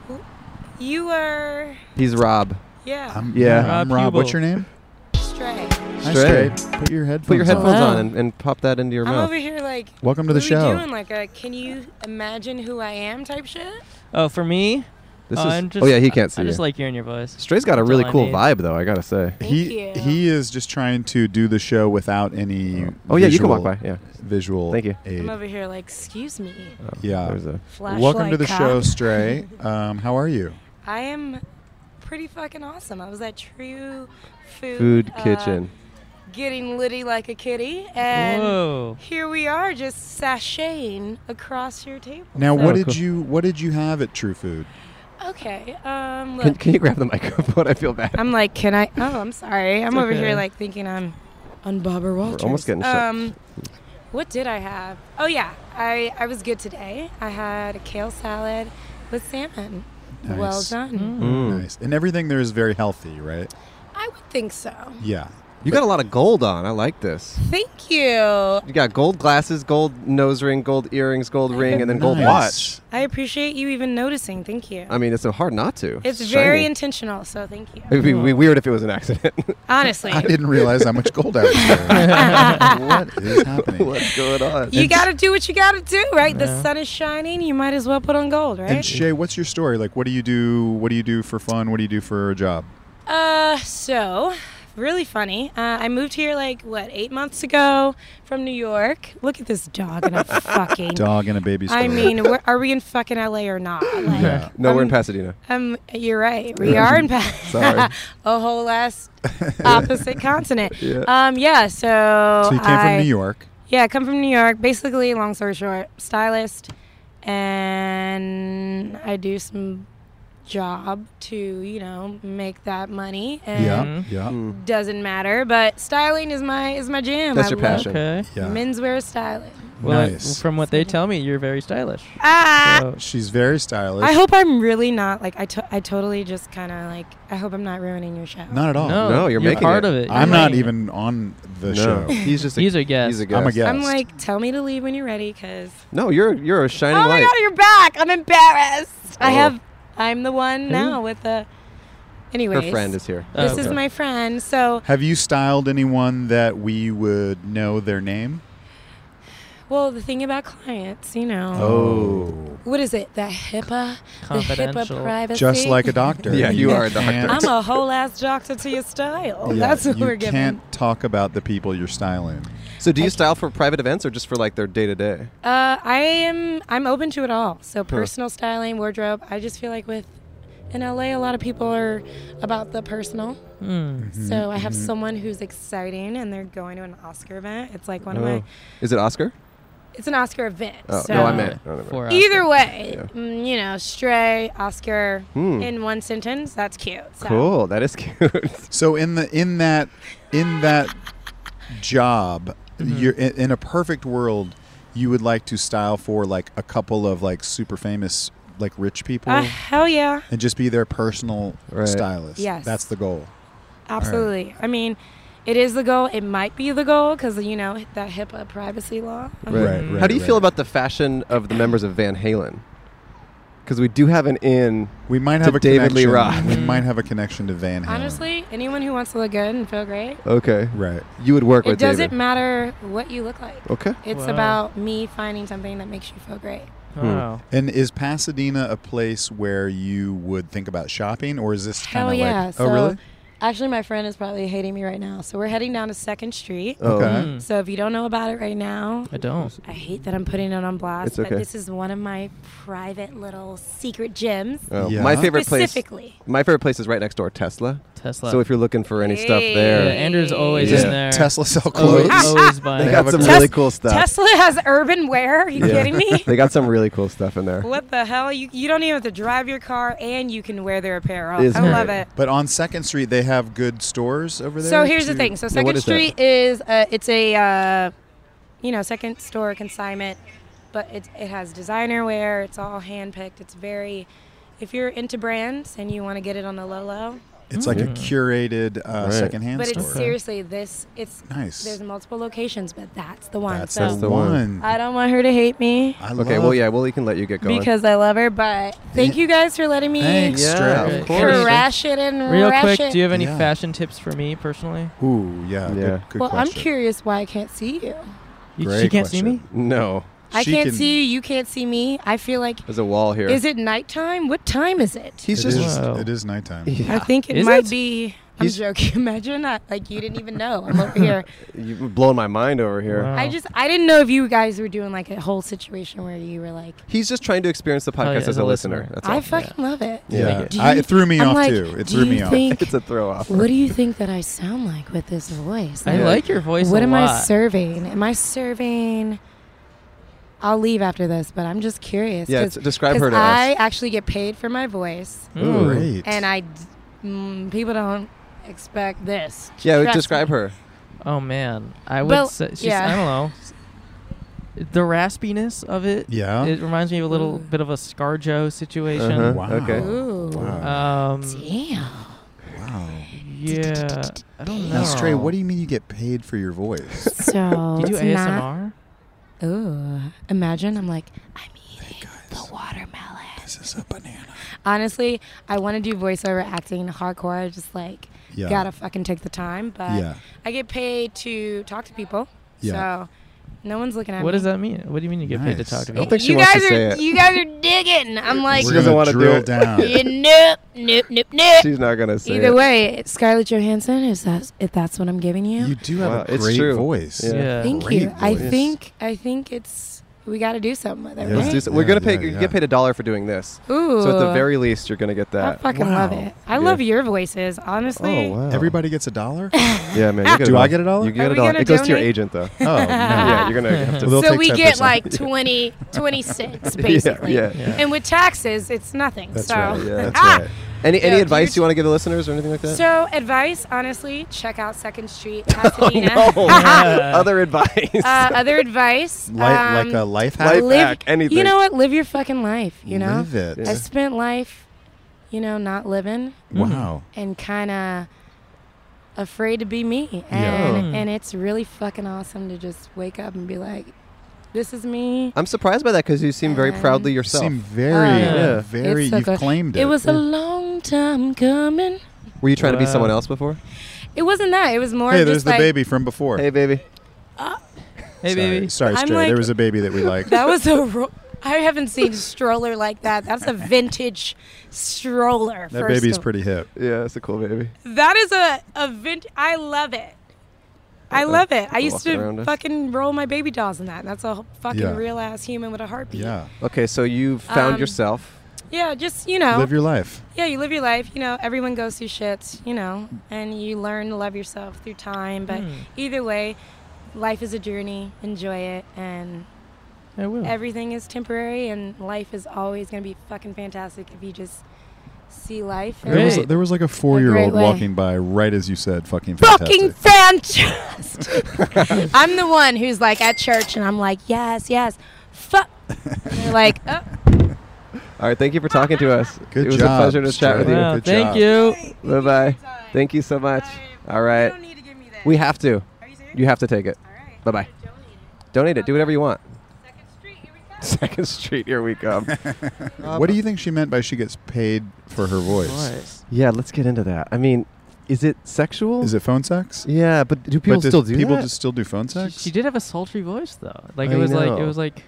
Speaker 8: You are.
Speaker 2: He's Rob.
Speaker 8: Yeah.
Speaker 10: I'm,
Speaker 2: Yeah.
Speaker 10: I'm
Speaker 8: Uh,
Speaker 4: Rob
Speaker 10: Rob. What's
Speaker 4: Hubel.
Speaker 10: your name?
Speaker 8: Stray.
Speaker 10: Hi,
Speaker 2: Stray.
Speaker 10: Stray. Put your headphones.
Speaker 2: Put your headphones
Speaker 10: on.
Speaker 4: Wow.
Speaker 2: on and, and pop that into your
Speaker 8: I'm
Speaker 2: mouth.
Speaker 8: over here like.
Speaker 10: Welcome to the
Speaker 8: what are we
Speaker 10: show.
Speaker 8: doing? Like a can you imagine who I am type shit?
Speaker 4: Oh, for me,
Speaker 2: This
Speaker 4: oh,
Speaker 2: is,
Speaker 4: I'm just,
Speaker 2: oh yeah, he can't see
Speaker 4: I
Speaker 2: you.
Speaker 4: just like hearing your voice.
Speaker 2: Stray's got a
Speaker 4: That's
Speaker 2: really
Speaker 4: all I
Speaker 2: cool
Speaker 4: need.
Speaker 2: vibe though. I gotta say.
Speaker 8: Thank
Speaker 10: He
Speaker 8: you.
Speaker 10: he is just trying to do the show without any.
Speaker 2: Oh yeah, you can walk
Speaker 10: visual-
Speaker 2: by. Yeah.
Speaker 10: Visual.
Speaker 2: Thank you.
Speaker 10: aid.
Speaker 8: I'm over here like, excuse me.
Speaker 2: Oh,
Speaker 10: Yeah.
Speaker 2: There's a
Speaker 8: Flashlight
Speaker 10: Uh, Welcome to the
Speaker 8: cop.
Speaker 10: show, Stray. Um, how are you?
Speaker 8: I am pretty fucking awesome. I was at True Food,
Speaker 2: food
Speaker 8: uh,
Speaker 2: kitchen.
Speaker 8: getting litty like a kitty, and
Speaker 4: Whoa.
Speaker 8: here we are just sashaying across your table.
Speaker 10: Now,
Speaker 4: Oh,
Speaker 10: what did
Speaker 4: cool.
Speaker 10: you what did you have at True Food?
Speaker 8: Okay, um,
Speaker 2: Can,
Speaker 8: look.
Speaker 2: can you grab the microphone? I feel bad.
Speaker 8: I'm like, can I? Oh, I'm sorry. I'm over
Speaker 4: okay.
Speaker 8: here like thinking I'm on Bobber Walters.
Speaker 2: almost getting shut-
Speaker 8: Um, what did I have? Oh yeah, I I was good today. I had a kale salad with salmon. Well
Speaker 10: Nice.
Speaker 8: done.
Speaker 2: Mm.
Speaker 10: Nice. And everything there is very healthy, right?
Speaker 8: I would think so.
Speaker 10: Yeah.
Speaker 2: You got a lot of gold on. I like this.
Speaker 8: Thank you.
Speaker 2: You got gold glasses, gold nose ring, gold earrings, gold ring, and then gold
Speaker 10: Nice.
Speaker 2: watch.
Speaker 8: I appreciate you even noticing. Thank you.
Speaker 2: I mean, it's so hard not to.
Speaker 8: it's very
Speaker 2: shiny.
Speaker 8: intentional, so thank you.
Speaker 2: It would be we- weird if it was an accident.
Speaker 8: Honestly,
Speaker 10: I didn't realize how much gold I was wearing. what is happening?
Speaker 2: What's going on?
Speaker 8: you got to do what you got to do, right? The
Speaker 4: Yeah.
Speaker 8: sun is shining. You might as well put on gold, right?
Speaker 10: And Shay, what's your story? Like, what do you do? What do you do for fun? What do you do for a job?
Speaker 8: Uh, so really funny. Uh, I moved here like what eight months ago from New York. Look at this dog and a fucking.
Speaker 10: Dog and a baby. Story.
Speaker 8: I mean, we're, are we in fucking LA or not? Like,
Speaker 10: yeah.
Speaker 2: no, we're in
Speaker 8: Um,
Speaker 2: Pasadena.
Speaker 8: Um, you're right. We are in
Speaker 2: Sorry.
Speaker 8: pa- a whole ass opposite continent.
Speaker 2: Yeah.
Speaker 8: Um, yeah. So,
Speaker 10: So you came
Speaker 8: I,
Speaker 10: from New York.
Speaker 8: Yeah, I come from New York. Basically, long story short, stylist, and I do some job to you know make that money. And
Speaker 10: Yeah. Yeah.
Speaker 8: doesn't matter, but styling is my is my jam.
Speaker 2: That's
Speaker 8: I
Speaker 2: your
Speaker 8: love
Speaker 2: passion.
Speaker 4: Okay.
Speaker 10: Yeah.
Speaker 8: Menswear styling.
Speaker 4: Well, I-
Speaker 10: Nice.
Speaker 4: from what they tell me, you're very stylish.
Speaker 8: Ah.
Speaker 4: So,
Speaker 10: She's very stylish.
Speaker 8: I hope I'm really not like I. To- I totally just kind of like. I hope I'm not ruining your show.
Speaker 10: Not at all.
Speaker 4: no,
Speaker 2: Oh, No, you're making
Speaker 4: part
Speaker 2: it.
Speaker 4: of it.
Speaker 10: I'm
Speaker 4: You're
Speaker 10: not
Speaker 4: making it.
Speaker 10: even on the
Speaker 2: no,
Speaker 10: show.
Speaker 2: he's just a,
Speaker 4: He's a guest.
Speaker 2: He's a guest.
Speaker 10: I'm a guest.
Speaker 8: I'm like, tell me to leave when you're ready, cause.
Speaker 2: No, you're you're a shining
Speaker 8: Oh my
Speaker 2: light.
Speaker 8: god, you're back! I'm embarrassed. I
Speaker 2: Oh.
Speaker 8: have. I'm the one now with the. Anyways,
Speaker 2: Her friend is here.
Speaker 4: Oh,
Speaker 8: This is
Speaker 4: okay.
Speaker 8: my friend. So,
Speaker 10: Have you styled anyone that we would know their name?
Speaker 8: well, the thing about clients, you know,
Speaker 10: Oh.
Speaker 8: what is it? The HIPAA, the
Speaker 4: Confidential.
Speaker 8: HIPAA privacy.
Speaker 10: Just like a doctor.
Speaker 2: Yeah, you are a doctor.
Speaker 10: can't-
Speaker 8: I'm a whole ass doctor to your style.
Speaker 10: Yeah,
Speaker 8: That's what
Speaker 10: you
Speaker 8: we're giving.
Speaker 10: can't talk about the people you're styling.
Speaker 2: So do you style for private events or just for like their day to day?
Speaker 8: Uh, I am. I'm open to it all. So personal styling, wardrobe. I just feel like with in LA, a lot of people are about the personal.
Speaker 2: Hmm.
Speaker 4: Mm.
Speaker 8: So I have someone who's exciting, and they're going to an Oscar event. It's like one of my.
Speaker 2: Oh. Is it Oscar?
Speaker 8: It's an Oscar event.
Speaker 2: Oh,
Speaker 8: so
Speaker 2: no, I meant. no, no, no.
Speaker 4: For us.
Speaker 8: Either way,
Speaker 2: Yeah.
Speaker 8: mm, you know, stray Oscar
Speaker 2: Hmm.
Speaker 8: in one sentence. That's cute. So.
Speaker 2: Cool. That is cute.
Speaker 10: So in the in that in that job,
Speaker 4: Mm-hmm.
Speaker 10: you're in, in a perfect world, you would like to style for like a couple of like super famous like rich people
Speaker 8: Uh, hell yeah.
Speaker 10: and just be their personal
Speaker 2: Right.
Speaker 10: stylist.
Speaker 8: Yes.
Speaker 10: That's the goal.
Speaker 8: Absolutely. I mean, it is the goal. It might be the goal because you know that HIPAA privacy law.
Speaker 10: Right, right,
Speaker 2: How do you
Speaker 10: right.
Speaker 2: feel about the fashion of the members of Van Halen? Because we do have an in.
Speaker 10: We might
Speaker 2: to
Speaker 10: have a
Speaker 2: David Lee
Speaker 10: connection.
Speaker 2: Roth.
Speaker 10: We might have a connection to Van Halen.
Speaker 8: Honestly, anyone who wants to look good and feel great,
Speaker 2: Okay.
Speaker 10: Right.
Speaker 2: You would work
Speaker 8: it
Speaker 2: with
Speaker 8: doesn't
Speaker 2: David. Oh.
Speaker 8: matter what you look like.
Speaker 2: okay.
Speaker 8: It's
Speaker 4: Wow.
Speaker 8: about me finding something that makes you feel great.
Speaker 4: Oh, Wow.
Speaker 10: And is Pasadena a place where you would think about shopping, or is this kind
Speaker 8: Hell
Speaker 10: of
Speaker 8: yeah.
Speaker 10: like?
Speaker 8: so
Speaker 10: oh, really?
Speaker 8: Actually, my friend is probably hating me right now. So we're heading down to Second Street.
Speaker 2: Oh.
Speaker 10: Okay.
Speaker 4: Hmm.
Speaker 8: So if you don't know about it right now,
Speaker 4: I don't.
Speaker 8: I hate that I'm putting it on blast,
Speaker 2: It's okay.
Speaker 8: but this is one of my private little secret gyms.
Speaker 2: Oh,
Speaker 10: Yeah.
Speaker 2: My favorite place.
Speaker 8: specifically.
Speaker 2: My favorite place is right next door, Tesla.
Speaker 4: Tesla.
Speaker 2: So if you're looking for any stuff
Speaker 4: yeah,
Speaker 2: there,
Speaker 4: Andrew's always
Speaker 2: Yeah.
Speaker 4: in there. Oh,
Speaker 10: Tesla sell
Speaker 4: Always,
Speaker 5: Oh,
Speaker 10: clothes.
Speaker 8: Ah.
Speaker 4: always buying.
Speaker 2: they got
Speaker 10: have a
Speaker 2: some
Speaker 10: Tes-
Speaker 2: really cool stuff.
Speaker 8: Tesla has urban wear. Are you
Speaker 2: Yeah.
Speaker 8: kidding me?
Speaker 2: They got some really cool stuff in there.
Speaker 8: What the hell? You, you don't even have to drive your car and you can wear their apparel.
Speaker 2: Isn't
Speaker 8: I love
Speaker 2: it?
Speaker 8: it.
Speaker 10: But on Second Street, they have good stores over there.
Speaker 8: So here's the
Speaker 10: too?
Speaker 8: thing. So
Speaker 2: Yeah, what
Speaker 8: Second
Speaker 2: is that?
Speaker 8: Street is uh, it's a uh, you know second store consignment, but it it has designer wear. It's all handpicked. It's very if you're into brands and you want to get it on the low low,
Speaker 10: It's like a curated uh,
Speaker 2: Mm. Right.
Speaker 10: secondhand
Speaker 8: but
Speaker 10: store.
Speaker 8: it's seriously this it's
Speaker 10: Nice.
Speaker 8: there's multiple locations, but that's the one.
Speaker 10: That's
Speaker 8: so
Speaker 10: the
Speaker 2: the one.
Speaker 10: one.
Speaker 8: I don't want her to hate me
Speaker 10: I
Speaker 2: Okay,
Speaker 10: love-
Speaker 2: well, yeah, well, we can let you get going.
Speaker 8: because I love her. But thank you guys for letting me
Speaker 10: Thanks,
Speaker 2: Yeah,
Speaker 10: Strav.
Speaker 2: of
Speaker 4: course.
Speaker 8: crash it and
Speaker 4: Real
Speaker 8: rash
Speaker 4: quick,
Speaker 8: it.
Speaker 4: do you have any
Speaker 10: Yeah.
Speaker 4: fashion tips for me personally?
Speaker 10: Ooh, yeah.
Speaker 2: Yeah.
Speaker 10: Good, good
Speaker 8: well,
Speaker 10: question.
Speaker 8: I'm curious why I can't see you.
Speaker 4: You, she
Speaker 10: Great
Speaker 4: can't see me.
Speaker 10: question.
Speaker 2: No,
Speaker 8: I
Speaker 10: She
Speaker 8: can't
Speaker 10: can-
Speaker 8: see you. You can't see me. I feel like
Speaker 2: there's a wall here.
Speaker 8: Is it nighttime? What time is it?
Speaker 2: He's
Speaker 10: It
Speaker 2: just.
Speaker 10: is-
Speaker 4: Wow.
Speaker 10: it is nighttime.
Speaker 8: I think it
Speaker 4: Is
Speaker 8: might
Speaker 4: it?
Speaker 8: be. I'm
Speaker 2: He's-
Speaker 8: joking. Imagine that. Like you didn't even know. I'm over here.
Speaker 2: You've blown my mind over here.
Speaker 4: Wow.
Speaker 8: I just I didn't know if you guys were doing like a whole situation where you were like,
Speaker 2: He's just trying to experience the
Speaker 4: Probably
Speaker 2: podcast as, a listener. That's
Speaker 8: I
Speaker 2: all.
Speaker 8: fucking love it.
Speaker 2: Yeah.
Speaker 8: Do
Speaker 10: I,
Speaker 8: you-
Speaker 10: it threw me
Speaker 8: I'm
Speaker 10: off
Speaker 8: like,
Speaker 10: too. It
Speaker 8: do
Speaker 10: threw
Speaker 8: you
Speaker 10: me off.
Speaker 8: think-
Speaker 2: It's a throw off.
Speaker 8: What do you think that I sound like with this voice?
Speaker 4: I
Speaker 8: Like,
Speaker 4: like your voice.
Speaker 8: what
Speaker 4: a
Speaker 8: am I
Speaker 4: lot.
Speaker 8: serving? Am I serving? I'll leave after this, but I'm just curious.
Speaker 2: Yeah,
Speaker 8: 'cause-
Speaker 2: t- describe her
Speaker 8: 'cause
Speaker 2: to
Speaker 8: I
Speaker 2: us.
Speaker 8: actually get paid for my voice.
Speaker 4: Ooh.
Speaker 10: Great.
Speaker 8: and I d- mm, people don't expect this.
Speaker 2: Yeah,
Speaker 8: Trust
Speaker 2: describe
Speaker 8: me.
Speaker 2: her.
Speaker 4: Oh man, I would
Speaker 8: Well,
Speaker 4: say she's,
Speaker 8: yeah.
Speaker 4: I don't know. The raspiness of it.
Speaker 10: Yeah.
Speaker 4: It reminds me of a little
Speaker 8: Ooh.
Speaker 4: bit of a ScarJo situation.
Speaker 2: Uh-huh.
Speaker 10: Wow.
Speaker 2: Okay.
Speaker 8: Ooh.
Speaker 10: Wow.
Speaker 4: Um,
Speaker 8: Damn.
Speaker 10: wow.
Speaker 4: yeah. I don't know.
Speaker 10: Now, Stray, what do you mean you get paid for your voice?
Speaker 8: So
Speaker 4: Do you do
Speaker 8: it's not.
Speaker 4: ASMR?
Speaker 8: Ooh. Imagine I'm like, I'm eating the watermelon.
Speaker 10: this is a banana.
Speaker 8: Honestly, I want to do voiceover acting hardcore. I just like
Speaker 10: Yeah.
Speaker 8: gotta fucking take the time, but
Speaker 10: Yeah.
Speaker 8: I get paid to talk to people.
Speaker 10: Yeah.
Speaker 8: So no one's looking at
Speaker 4: What
Speaker 8: me.
Speaker 4: does that mean? What do you mean you get paid
Speaker 10: Nice.
Speaker 4: to talk to
Speaker 2: I don't
Speaker 4: people?
Speaker 2: think she
Speaker 8: you
Speaker 2: wants
Speaker 8: guys
Speaker 2: to
Speaker 8: are
Speaker 2: say it.
Speaker 8: you guys are digging. I'm like,
Speaker 10: We're
Speaker 2: doesn't
Speaker 10: gonna
Speaker 2: wanna do
Speaker 10: drill
Speaker 2: it.
Speaker 10: down.
Speaker 8: yeah, nope, nope, nope, nope.
Speaker 2: She's not gonna say
Speaker 8: Either
Speaker 2: it.
Speaker 8: way, Scarlett Johansson is that if that's what I'm giving you.
Speaker 10: You do have
Speaker 2: Wow,
Speaker 10: a
Speaker 2: it's
Speaker 10: great
Speaker 2: true.
Speaker 10: voice.
Speaker 2: Yeah.
Speaker 4: Yeah.
Speaker 8: Thank
Speaker 10: Great
Speaker 8: you. I
Speaker 10: voice.
Speaker 8: think I think it's we got to do something with it.
Speaker 10: Yeah.
Speaker 2: Let's
Speaker 8: Right?
Speaker 2: do so. We're
Speaker 10: Yeah,
Speaker 2: gonna pay.
Speaker 10: yeah,
Speaker 2: you
Speaker 10: yeah.
Speaker 2: Get paid a dollar for doing this.
Speaker 8: Ooh.
Speaker 2: So at the very least, you're gonna get
Speaker 8: I
Speaker 2: that.
Speaker 8: fucking love
Speaker 10: Wow.
Speaker 8: it. I
Speaker 2: Yeah.
Speaker 8: love your voices, honestly.
Speaker 2: Oh wow.
Speaker 10: Everybody gets a dollar?
Speaker 2: Yeah, man. you Ah. get
Speaker 10: Do I
Speaker 2: a dollar.
Speaker 10: get a dollar?
Speaker 2: You get
Speaker 8: Are
Speaker 2: a
Speaker 8: we
Speaker 2: dollar.
Speaker 8: gonna
Speaker 2: It goes to your
Speaker 8: donate?
Speaker 2: agent though.
Speaker 10: oh, no.
Speaker 2: yeah, you're gonna have to.
Speaker 10: They'll
Speaker 8: so
Speaker 10: take
Speaker 8: we get
Speaker 10: 10%.
Speaker 8: like 20, 26 basically.
Speaker 2: Yeah, yeah.
Speaker 4: Yeah.
Speaker 8: And with taxes, it's nothing.
Speaker 10: That's
Speaker 8: so
Speaker 10: right.
Speaker 2: Yeah.
Speaker 10: That's
Speaker 8: Ah!
Speaker 10: right.
Speaker 2: Any any
Speaker 8: Yeah,
Speaker 2: advice
Speaker 8: you-
Speaker 2: you want to give the listeners or anything like that?
Speaker 8: So advice, honestly, check out Second Street Pasadena.
Speaker 2: No.
Speaker 4: Yeah.
Speaker 2: Other advice.
Speaker 8: uh, other advice,
Speaker 10: Li-
Speaker 8: um,
Speaker 10: like a life hack?
Speaker 2: Life
Speaker 8: live
Speaker 2: hack, anything.
Speaker 8: You know what? Live your fucking life. You know.
Speaker 10: Live it.
Speaker 8: I spent life, you know, not living
Speaker 10: Wow.
Speaker 8: and kind of afraid to be me,
Speaker 10: Yeah. Oh.
Speaker 8: and
Speaker 4: Mm.
Speaker 8: and it's really fucking awesome to just wake up and be like, this is me.
Speaker 2: I'm surprised by that because you seem very
Speaker 8: Um,
Speaker 2: proudly
Speaker 10: You
Speaker 2: yourself.
Speaker 10: seem very,
Speaker 8: Oh,
Speaker 2: yeah.
Speaker 10: very,
Speaker 8: It's so
Speaker 10: you've
Speaker 8: good.
Speaker 10: claimed it.
Speaker 8: It was a long time coming.
Speaker 2: Were you trying to be
Speaker 4: Wow.
Speaker 2: someone else before?
Speaker 8: It wasn't that. It was more.
Speaker 10: hey,
Speaker 8: just
Speaker 10: there's the
Speaker 8: like,
Speaker 10: baby from before.
Speaker 2: Hey, baby.
Speaker 4: Hey,
Speaker 10: Sorry.
Speaker 4: baby.
Speaker 10: Sorry,
Speaker 8: I'm
Speaker 10: Stray. there
Speaker 8: like-
Speaker 10: was a baby that we liked.
Speaker 8: That was a. Ro- I haven't seen a stroller like that. That's a vintage stroller.
Speaker 10: that
Speaker 8: first
Speaker 10: baby's
Speaker 8: of-
Speaker 10: pretty hip.
Speaker 2: Yeah, it's a cool baby.
Speaker 8: That is a a vintage. I love it. I
Speaker 2: Uh-oh.
Speaker 8: love it. I used
Speaker 2: Walking around
Speaker 8: to
Speaker 2: us.
Speaker 8: fucking roll my baby dolls in that. That's a whole fucking
Speaker 10: Yeah.
Speaker 8: real ass human with a heartbeat.
Speaker 10: Yeah.
Speaker 2: Okay, so you found
Speaker 8: Um,
Speaker 2: yourself.
Speaker 8: Yeah, just you know.
Speaker 10: Live your life.
Speaker 8: yeah, you live your life. You know, everyone goes through shit. You know, and you learn to love yourself through time. But
Speaker 4: Hmm.
Speaker 8: either way, life is a journey. Enjoy it, and
Speaker 4: I
Speaker 10: Hmm.
Speaker 4: will.
Speaker 8: everything is temporary, and life is always gonna be fucking fantastic if you just see life.
Speaker 10: There was,
Speaker 4: Great.
Speaker 10: there was like a four year old
Speaker 8: way.
Speaker 10: walking by right as you said fucking
Speaker 8: fucking
Speaker 10: fantastic.
Speaker 8: fantastic. I'm the one who's like at church and I'm like, yes, yes, fuck. And they're like,
Speaker 2: Uh,
Speaker 8: oh,
Speaker 2: All right, thank you for talking to us.
Speaker 10: Good
Speaker 2: it was
Speaker 10: job,
Speaker 2: a pleasure to chat with
Speaker 10: Stray.
Speaker 2: you.
Speaker 4: wow,
Speaker 10: Good
Speaker 4: thank
Speaker 10: job.
Speaker 4: you.
Speaker 2: Bye bye. Thank you so much. All right.
Speaker 8: need to give me that.
Speaker 2: We have to.
Speaker 8: Are you serious?
Speaker 2: You have to take it.
Speaker 8: All right.
Speaker 2: Bye-bye. I'm Donate it. Do whatever you want. Second Street, here we come.
Speaker 10: what do you think she meant by she gets paid for her voice?
Speaker 4: Voice.
Speaker 2: yeah, let's get into that. I mean, is it sexual?
Speaker 10: Is it phone sex?
Speaker 2: Yeah, but do people
Speaker 10: but does
Speaker 2: still do
Speaker 10: people
Speaker 2: that?
Speaker 10: just still do phone
Speaker 4: She,
Speaker 10: sex?
Speaker 4: she did have a sultry voice though. Like
Speaker 2: I
Speaker 4: it was like it
Speaker 2: know.
Speaker 4: was like.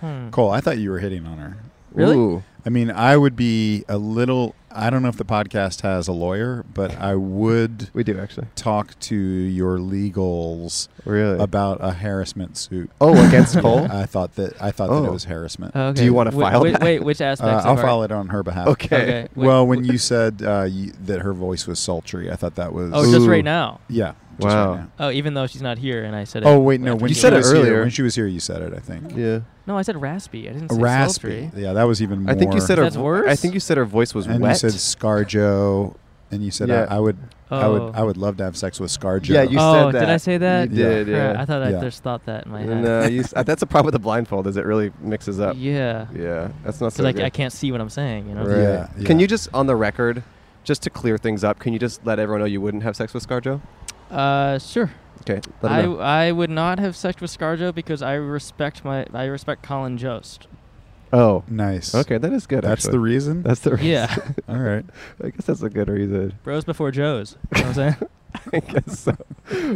Speaker 4: Hmm.
Speaker 10: Cole, I thought you were hitting on her.
Speaker 4: Really?
Speaker 2: Ooh.
Speaker 10: I mean, I would be a little I don't know if the podcast has a lawyer, but I would
Speaker 2: We do actually.
Speaker 10: talk to your legals
Speaker 2: Really?
Speaker 10: about a harassment suit.
Speaker 2: oh, against Cole.
Speaker 10: I thought that I thought that it
Speaker 2: Oh.
Speaker 10: was harassment.
Speaker 4: Okay.
Speaker 2: Do you wanna
Speaker 4: Wh-
Speaker 2: file
Speaker 4: wait,
Speaker 2: that?
Speaker 4: Wait, which
Speaker 10: Uh,
Speaker 4: aspects?
Speaker 10: I'll
Speaker 4: of our-
Speaker 10: file it on her behalf.
Speaker 2: Okay.
Speaker 4: Okay. wh-
Speaker 10: Well, when
Speaker 4: wh-
Speaker 10: you said uh, you, that her voice was sultry, I thought that was
Speaker 4: oh, just right
Speaker 2: Ooh.
Speaker 4: now.
Speaker 10: yeah. just
Speaker 2: Wow.
Speaker 10: right now.
Speaker 4: Oh, even though she's not here, and I said.
Speaker 10: Oh
Speaker 4: it
Speaker 10: wait, no.
Speaker 4: after
Speaker 10: When
Speaker 4: she
Speaker 10: she
Speaker 2: said it
Speaker 4: was-
Speaker 10: was here-
Speaker 2: earlier.
Speaker 10: when she was here, you said it. I think
Speaker 2: Yeah.
Speaker 4: No, I said raspy. I didn't say
Speaker 10: raspy.
Speaker 4: sultry.
Speaker 10: Yeah, that was even. More.
Speaker 2: I think you said her.
Speaker 4: That's worse?
Speaker 2: I think you said her voice was
Speaker 10: and
Speaker 2: wet.
Speaker 10: you said ScarJo, and you said
Speaker 2: Yeah.
Speaker 10: I, I would,
Speaker 4: Oh.
Speaker 10: I would, I would love to have sex with ScarJo.
Speaker 2: Yeah, you
Speaker 4: oh,
Speaker 2: said
Speaker 4: did I
Speaker 2: that.
Speaker 4: say that?
Speaker 2: You did,
Speaker 4: Crap,
Speaker 2: yeah.
Speaker 4: I thought
Speaker 10: Yeah.
Speaker 4: I just thought that in my head.
Speaker 2: No, you, s- that's a problem with the blindfold. Is it really mixes up?
Speaker 4: Yeah.
Speaker 2: Yeah, that's not
Speaker 4: Because
Speaker 2: so
Speaker 4: like
Speaker 2: good.
Speaker 4: I can't see what I'm saying, you know.
Speaker 10: Right.
Speaker 2: Yeah.
Speaker 10: Yeah,
Speaker 2: Can
Speaker 10: yeah.
Speaker 2: you just on the record, just to clear things up, can you just let everyone know you wouldn't have sex with ScarJo?
Speaker 4: Uh, sure.
Speaker 2: Okay, let 'em
Speaker 4: I,
Speaker 2: know.
Speaker 4: I would not have sex with ScarJo because I respect my I respect Colin Jost.
Speaker 2: Oh,
Speaker 10: nice.
Speaker 2: okay, that is good.
Speaker 10: that's the
Speaker 2: actually.
Speaker 10: reason.
Speaker 2: that's the reason.
Speaker 4: Yeah,
Speaker 10: All right.
Speaker 2: I guess that's a good reason.
Speaker 4: bros before Joes. You know what I'm
Speaker 2: I guess so.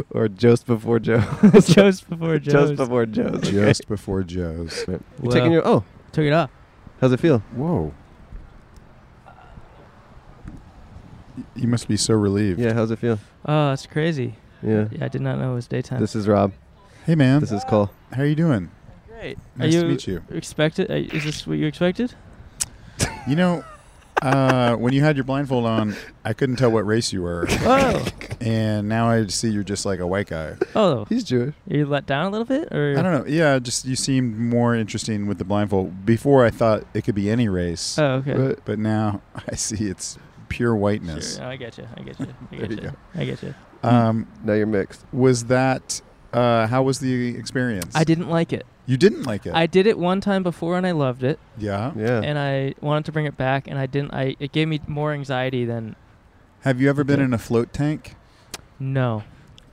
Speaker 2: or just before Joe.
Speaker 4: saying? Joes before Joes.
Speaker 2: Just before Joe.
Speaker 10: Just before Joe's.
Speaker 2: You're taking your. Oh,
Speaker 4: took it off.
Speaker 2: how's it feel?
Speaker 10: Whoa. You must be so relieved.
Speaker 2: Yeah, how's it feel?
Speaker 4: Oh, that's crazy.
Speaker 2: Yeah.
Speaker 4: Yeah, I did not know it was daytime.
Speaker 2: This is Rob.
Speaker 10: Hey man,
Speaker 2: This is Cole.
Speaker 10: how you doing?
Speaker 4: Great.
Speaker 10: Nice
Speaker 4: Are you
Speaker 10: to meet you.
Speaker 4: Expected? Uh, is this what you expected?
Speaker 10: You know, uh, when you had your blindfold on, I couldn't tell what race you were,
Speaker 4: Oh,
Speaker 10: and now I see you're just like a white guy.
Speaker 4: oh,
Speaker 2: He's Jewish.
Speaker 4: you let down a little bit, or
Speaker 10: I don't know. Yeah, just you seemed more interesting with the blindfold. Before I thought it could be any
Speaker 2: Uh,
Speaker 10: race,
Speaker 4: Oh, okay.
Speaker 2: But
Speaker 10: but now I see it's pure whiteness.
Speaker 4: Sure. No, I get you. I get you. I
Speaker 10: There
Speaker 4: get
Speaker 10: you
Speaker 4: you. I get you.
Speaker 10: Um,
Speaker 2: now you're mixed.
Speaker 10: was that? Uh, how was the experience?
Speaker 4: I didn't like it.
Speaker 10: You didn't like it.
Speaker 4: I did it one time before and I loved it,
Speaker 10: yeah.
Speaker 2: Yeah.
Speaker 4: and I wanted to bring it back, and I didn't. I it gave me more anxiety than
Speaker 10: Have you ever been in a float tank?
Speaker 4: no.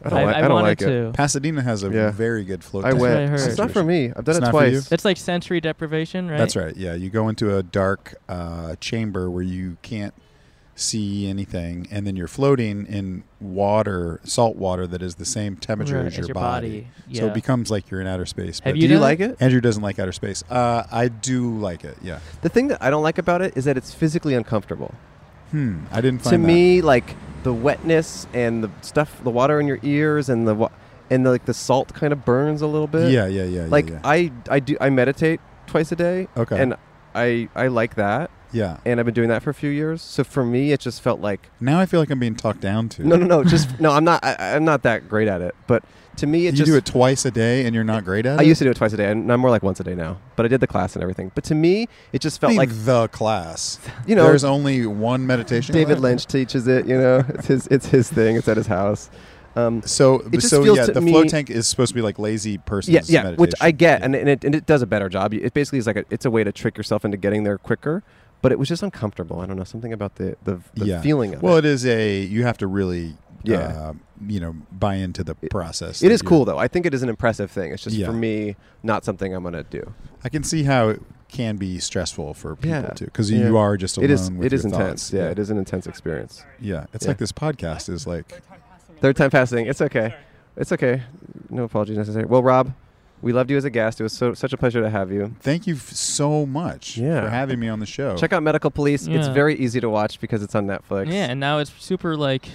Speaker 2: I don't, like, I, don't
Speaker 4: wanted
Speaker 2: like it.
Speaker 4: to.
Speaker 10: Pasadena has a
Speaker 2: Yeah.
Speaker 10: very good float
Speaker 2: I
Speaker 10: tank.
Speaker 4: what I
Speaker 2: went.
Speaker 4: heard.
Speaker 2: It's not for me. I've done
Speaker 10: It's
Speaker 2: it
Speaker 10: not for you?
Speaker 2: twice.
Speaker 4: That's like sensory deprivation, right?
Speaker 10: That's right. Yeah, you go into a dark uh, chamber where you can't see anything, and then you're floating in water, salt water that is the same temperature
Speaker 4: Right,
Speaker 10: as your, body.
Speaker 4: Yeah.
Speaker 10: So it becomes like you're in outer space. but
Speaker 4: Have
Speaker 2: Do
Speaker 4: You
Speaker 2: you
Speaker 4: done
Speaker 2: like
Speaker 4: it?
Speaker 2: it?
Speaker 10: Andrew doesn't like outer space. Uh, I do like it. Yeah.
Speaker 2: The thing that I don't like about it is that it's physically uncomfortable.
Speaker 10: Hmm. I didn't find that.
Speaker 2: to me, like the wetness and the stuff, the water in your ears and the wa- and the, like the salt kind of burns a little bit.
Speaker 10: Yeah, yeah, yeah.
Speaker 2: Like
Speaker 10: yeah, yeah.
Speaker 2: I I do I meditate twice a day.
Speaker 10: Okay.
Speaker 2: And I I like that,
Speaker 10: yeah.
Speaker 2: and I've been doing that for a few years. So for me, it just felt like
Speaker 10: Now I feel like I'm being talked down to.
Speaker 2: no, no, no. Just no. I'm not. I, I'm not that great at it. But to me, it
Speaker 10: you
Speaker 2: just
Speaker 10: do it twice a day, and you're not great at
Speaker 2: I
Speaker 10: it.
Speaker 2: used to do it twice a day, and I'm more like once a day now. But I did the class and everything. But to me, it just felt
Speaker 10: I mean,
Speaker 2: like
Speaker 10: the class.
Speaker 2: you know
Speaker 10: There's only one meditation.
Speaker 2: David
Speaker 10: class?
Speaker 2: Lynch teaches it. You know, it's his it's his thing. It's at his house. Um,
Speaker 10: So,
Speaker 2: It just
Speaker 10: so
Speaker 2: feels
Speaker 10: yeah,
Speaker 2: to
Speaker 10: the
Speaker 2: me-
Speaker 10: float tank is supposed to be like lazy person's
Speaker 2: yeah, yeah,
Speaker 10: meditation.
Speaker 2: which I get,
Speaker 10: Yeah.
Speaker 2: and, and it and it does a better job. It basically is like a, it's a way to trick yourself into getting there quicker. But it was just uncomfortable. I don't know something about the the, the
Speaker 10: Yeah.
Speaker 2: feeling of
Speaker 10: well,
Speaker 2: it.
Speaker 10: it is a you have to really,
Speaker 2: Yeah.
Speaker 10: uh, you know, buy into the process.
Speaker 2: It
Speaker 10: that
Speaker 2: is
Speaker 10: you're-
Speaker 2: cool though. I think it is an impressive thing. It's just
Speaker 10: Yeah.
Speaker 2: for me not something I'm gonna do.
Speaker 10: I can see how it can be stressful for people
Speaker 2: Yeah.
Speaker 10: too, because
Speaker 2: Yeah.
Speaker 10: you are just alone.
Speaker 2: It is
Speaker 10: with
Speaker 2: it is
Speaker 10: your
Speaker 2: intense.
Speaker 10: thoughts.
Speaker 2: Yeah, it is an intense experience.
Speaker 10: Yeah, it's
Speaker 2: Yeah.
Speaker 10: like this podcast is like.
Speaker 2: Third time passing. It's okay. It's okay. No apologies necessary. Well, Rob, we loved you as a guest. It was so, such a pleasure to have you.
Speaker 10: Thank you f- so much
Speaker 2: Yeah.
Speaker 10: for having me on the show.
Speaker 2: Check out Medical Police. It's
Speaker 4: Yeah.
Speaker 2: very easy to watch because it's on Netflix.
Speaker 4: Yeah, and now it's super like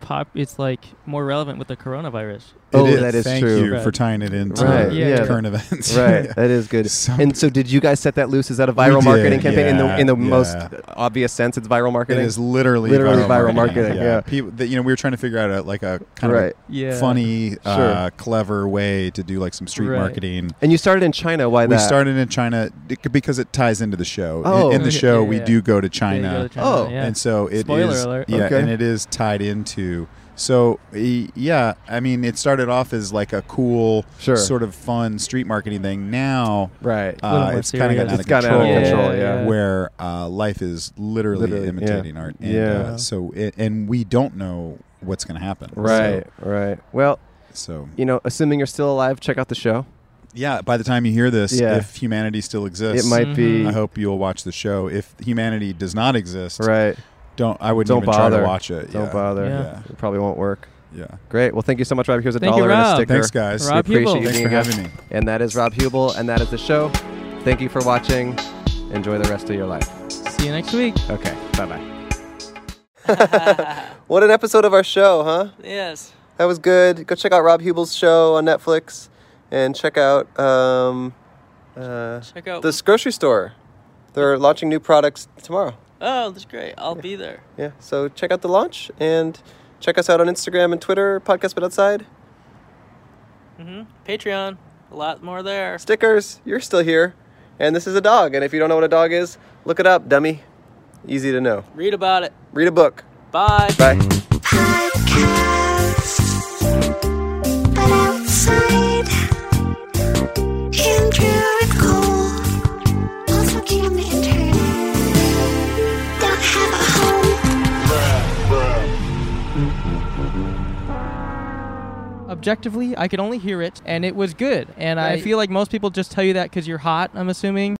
Speaker 4: pop. It's like more relevant with the coronavirus.
Speaker 10: It
Speaker 2: Oh, that is
Speaker 10: Thank
Speaker 2: true.
Speaker 10: you for tying it into
Speaker 2: Right,
Speaker 4: yeah.
Speaker 10: current events.
Speaker 2: Right. That is good.
Speaker 10: So-
Speaker 2: And so, did you guys set that loose? Is that a
Speaker 10: We
Speaker 2: viral
Speaker 10: did,
Speaker 2: marketing campaign in the
Speaker 10: yeah,
Speaker 2: in the
Speaker 10: yeah.
Speaker 2: most obvious sense? It's viral
Speaker 10: It
Speaker 2: marketing.
Speaker 10: is literally
Speaker 2: Literally viral marketing, yeah.
Speaker 10: People, that, you know, we were trying to figure out a, like a kind of
Speaker 2: right.
Speaker 10: a
Speaker 4: Yeah.
Speaker 10: funny, uh, clever way to do like some street
Speaker 4: Right.
Speaker 10: marketing.
Speaker 2: And you started in China. Why
Speaker 10: We
Speaker 2: that?
Speaker 10: started in China d- because it ties into the show. In-
Speaker 2: Oh.
Speaker 10: in, the
Speaker 4: Okay,
Speaker 10: show,
Speaker 4: yeah,
Speaker 10: we
Speaker 4: yeah.
Speaker 10: do go to
Speaker 4: Yeah, you
Speaker 10: China,
Speaker 4: go to China,
Speaker 2: Oh,
Speaker 4: yeah.
Speaker 10: and so it is.
Speaker 4: Spoiler alert.
Speaker 10: Yeah,
Speaker 2: Okay.
Speaker 10: and it is tied into. So e- yeah, I mean, it started off as like a cool,
Speaker 2: Sure.
Speaker 10: sort of fun street marketing thing. Now
Speaker 2: right.
Speaker 4: little
Speaker 10: uh,
Speaker 4: more
Speaker 10: it's kind of gotten
Speaker 4: serious.
Speaker 10: out of
Speaker 2: It's gotten out
Speaker 10: control.
Speaker 2: of
Speaker 4: control, Yeah, yeah. yeah.
Speaker 10: Where uh, life is literally,
Speaker 2: Literally, yeah.
Speaker 10: imitating art. And,
Speaker 2: Yeah.
Speaker 10: Uh, so it, and we don't know what's going to happen.
Speaker 2: right. Right. Well,
Speaker 10: So, so,
Speaker 2: you know, assuming you're still alive, check out the show.
Speaker 10: yeah, by the time you hear this,
Speaker 2: Yeah.
Speaker 10: if humanity still
Speaker 2: It
Speaker 10: exists,
Speaker 2: might be
Speaker 10: Mm-hmm. I hope you'll watch the show. If humanity does not exist,
Speaker 2: right.
Speaker 10: don't I wouldn't
Speaker 2: Don't
Speaker 10: even try
Speaker 2: bother.
Speaker 10: to watch it.
Speaker 2: Don't
Speaker 10: yeah.
Speaker 2: bother.
Speaker 10: Yeah.
Speaker 2: It probably won't work.
Speaker 10: Yeah.
Speaker 2: Great. Well, thank you so much, Rob. Here's a
Speaker 4: Thank you,
Speaker 2: dollar and a
Speaker 4: Rob.
Speaker 2: sticker.
Speaker 10: Thanks, guys.
Speaker 4: Rob
Speaker 2: we appreciate
Speaker 4: Hubel.
Speaker 2: you
Speaker 10: Thanks
Speaker 2: being
Speaker 10: for having
Speaker 2: here.
Speaker 10: me.
Speaker 2: And that is Rob Hubel, and that is the show. Thank you for watching. Enjoy the rest of your life.
Speaker 4: See you next week.
Speaker 2: Okay, bye bye. what an episode of our show, huh?
Speaker 1: Yes.
Speaker 2: That was good. Go check out Rob Hubel's show on Netflix, and check out um, uh,
Speaker 1: Check out-
Speaker 2: this grocery store. They're launching new products tomorrow.
Speaker 1: Oh, that's great. I'll be there.
Speaker 2: Yeah, so check out the launch and check us out on Instagram and Twitter. Podcast but outside
Speaker 1: hmm Patreon, a lot more there.
Speaker 2: stickers. You're still here, and this is a dog. And if you don't know what a dog is, look it up, dummy. Easy to know.
Speaker 1: Read about it.
Speaker 2: Read a book.
Speaker 1: Bye.
Speaker 2: Bye.
Speaker 3: But outside, Andrew and Cole, also key on the internet, don't have a home.
Speaker 4: Objectively, I could only hear it, and it was good. And I feel like most people just tell you that because you're hot. I'm assuming.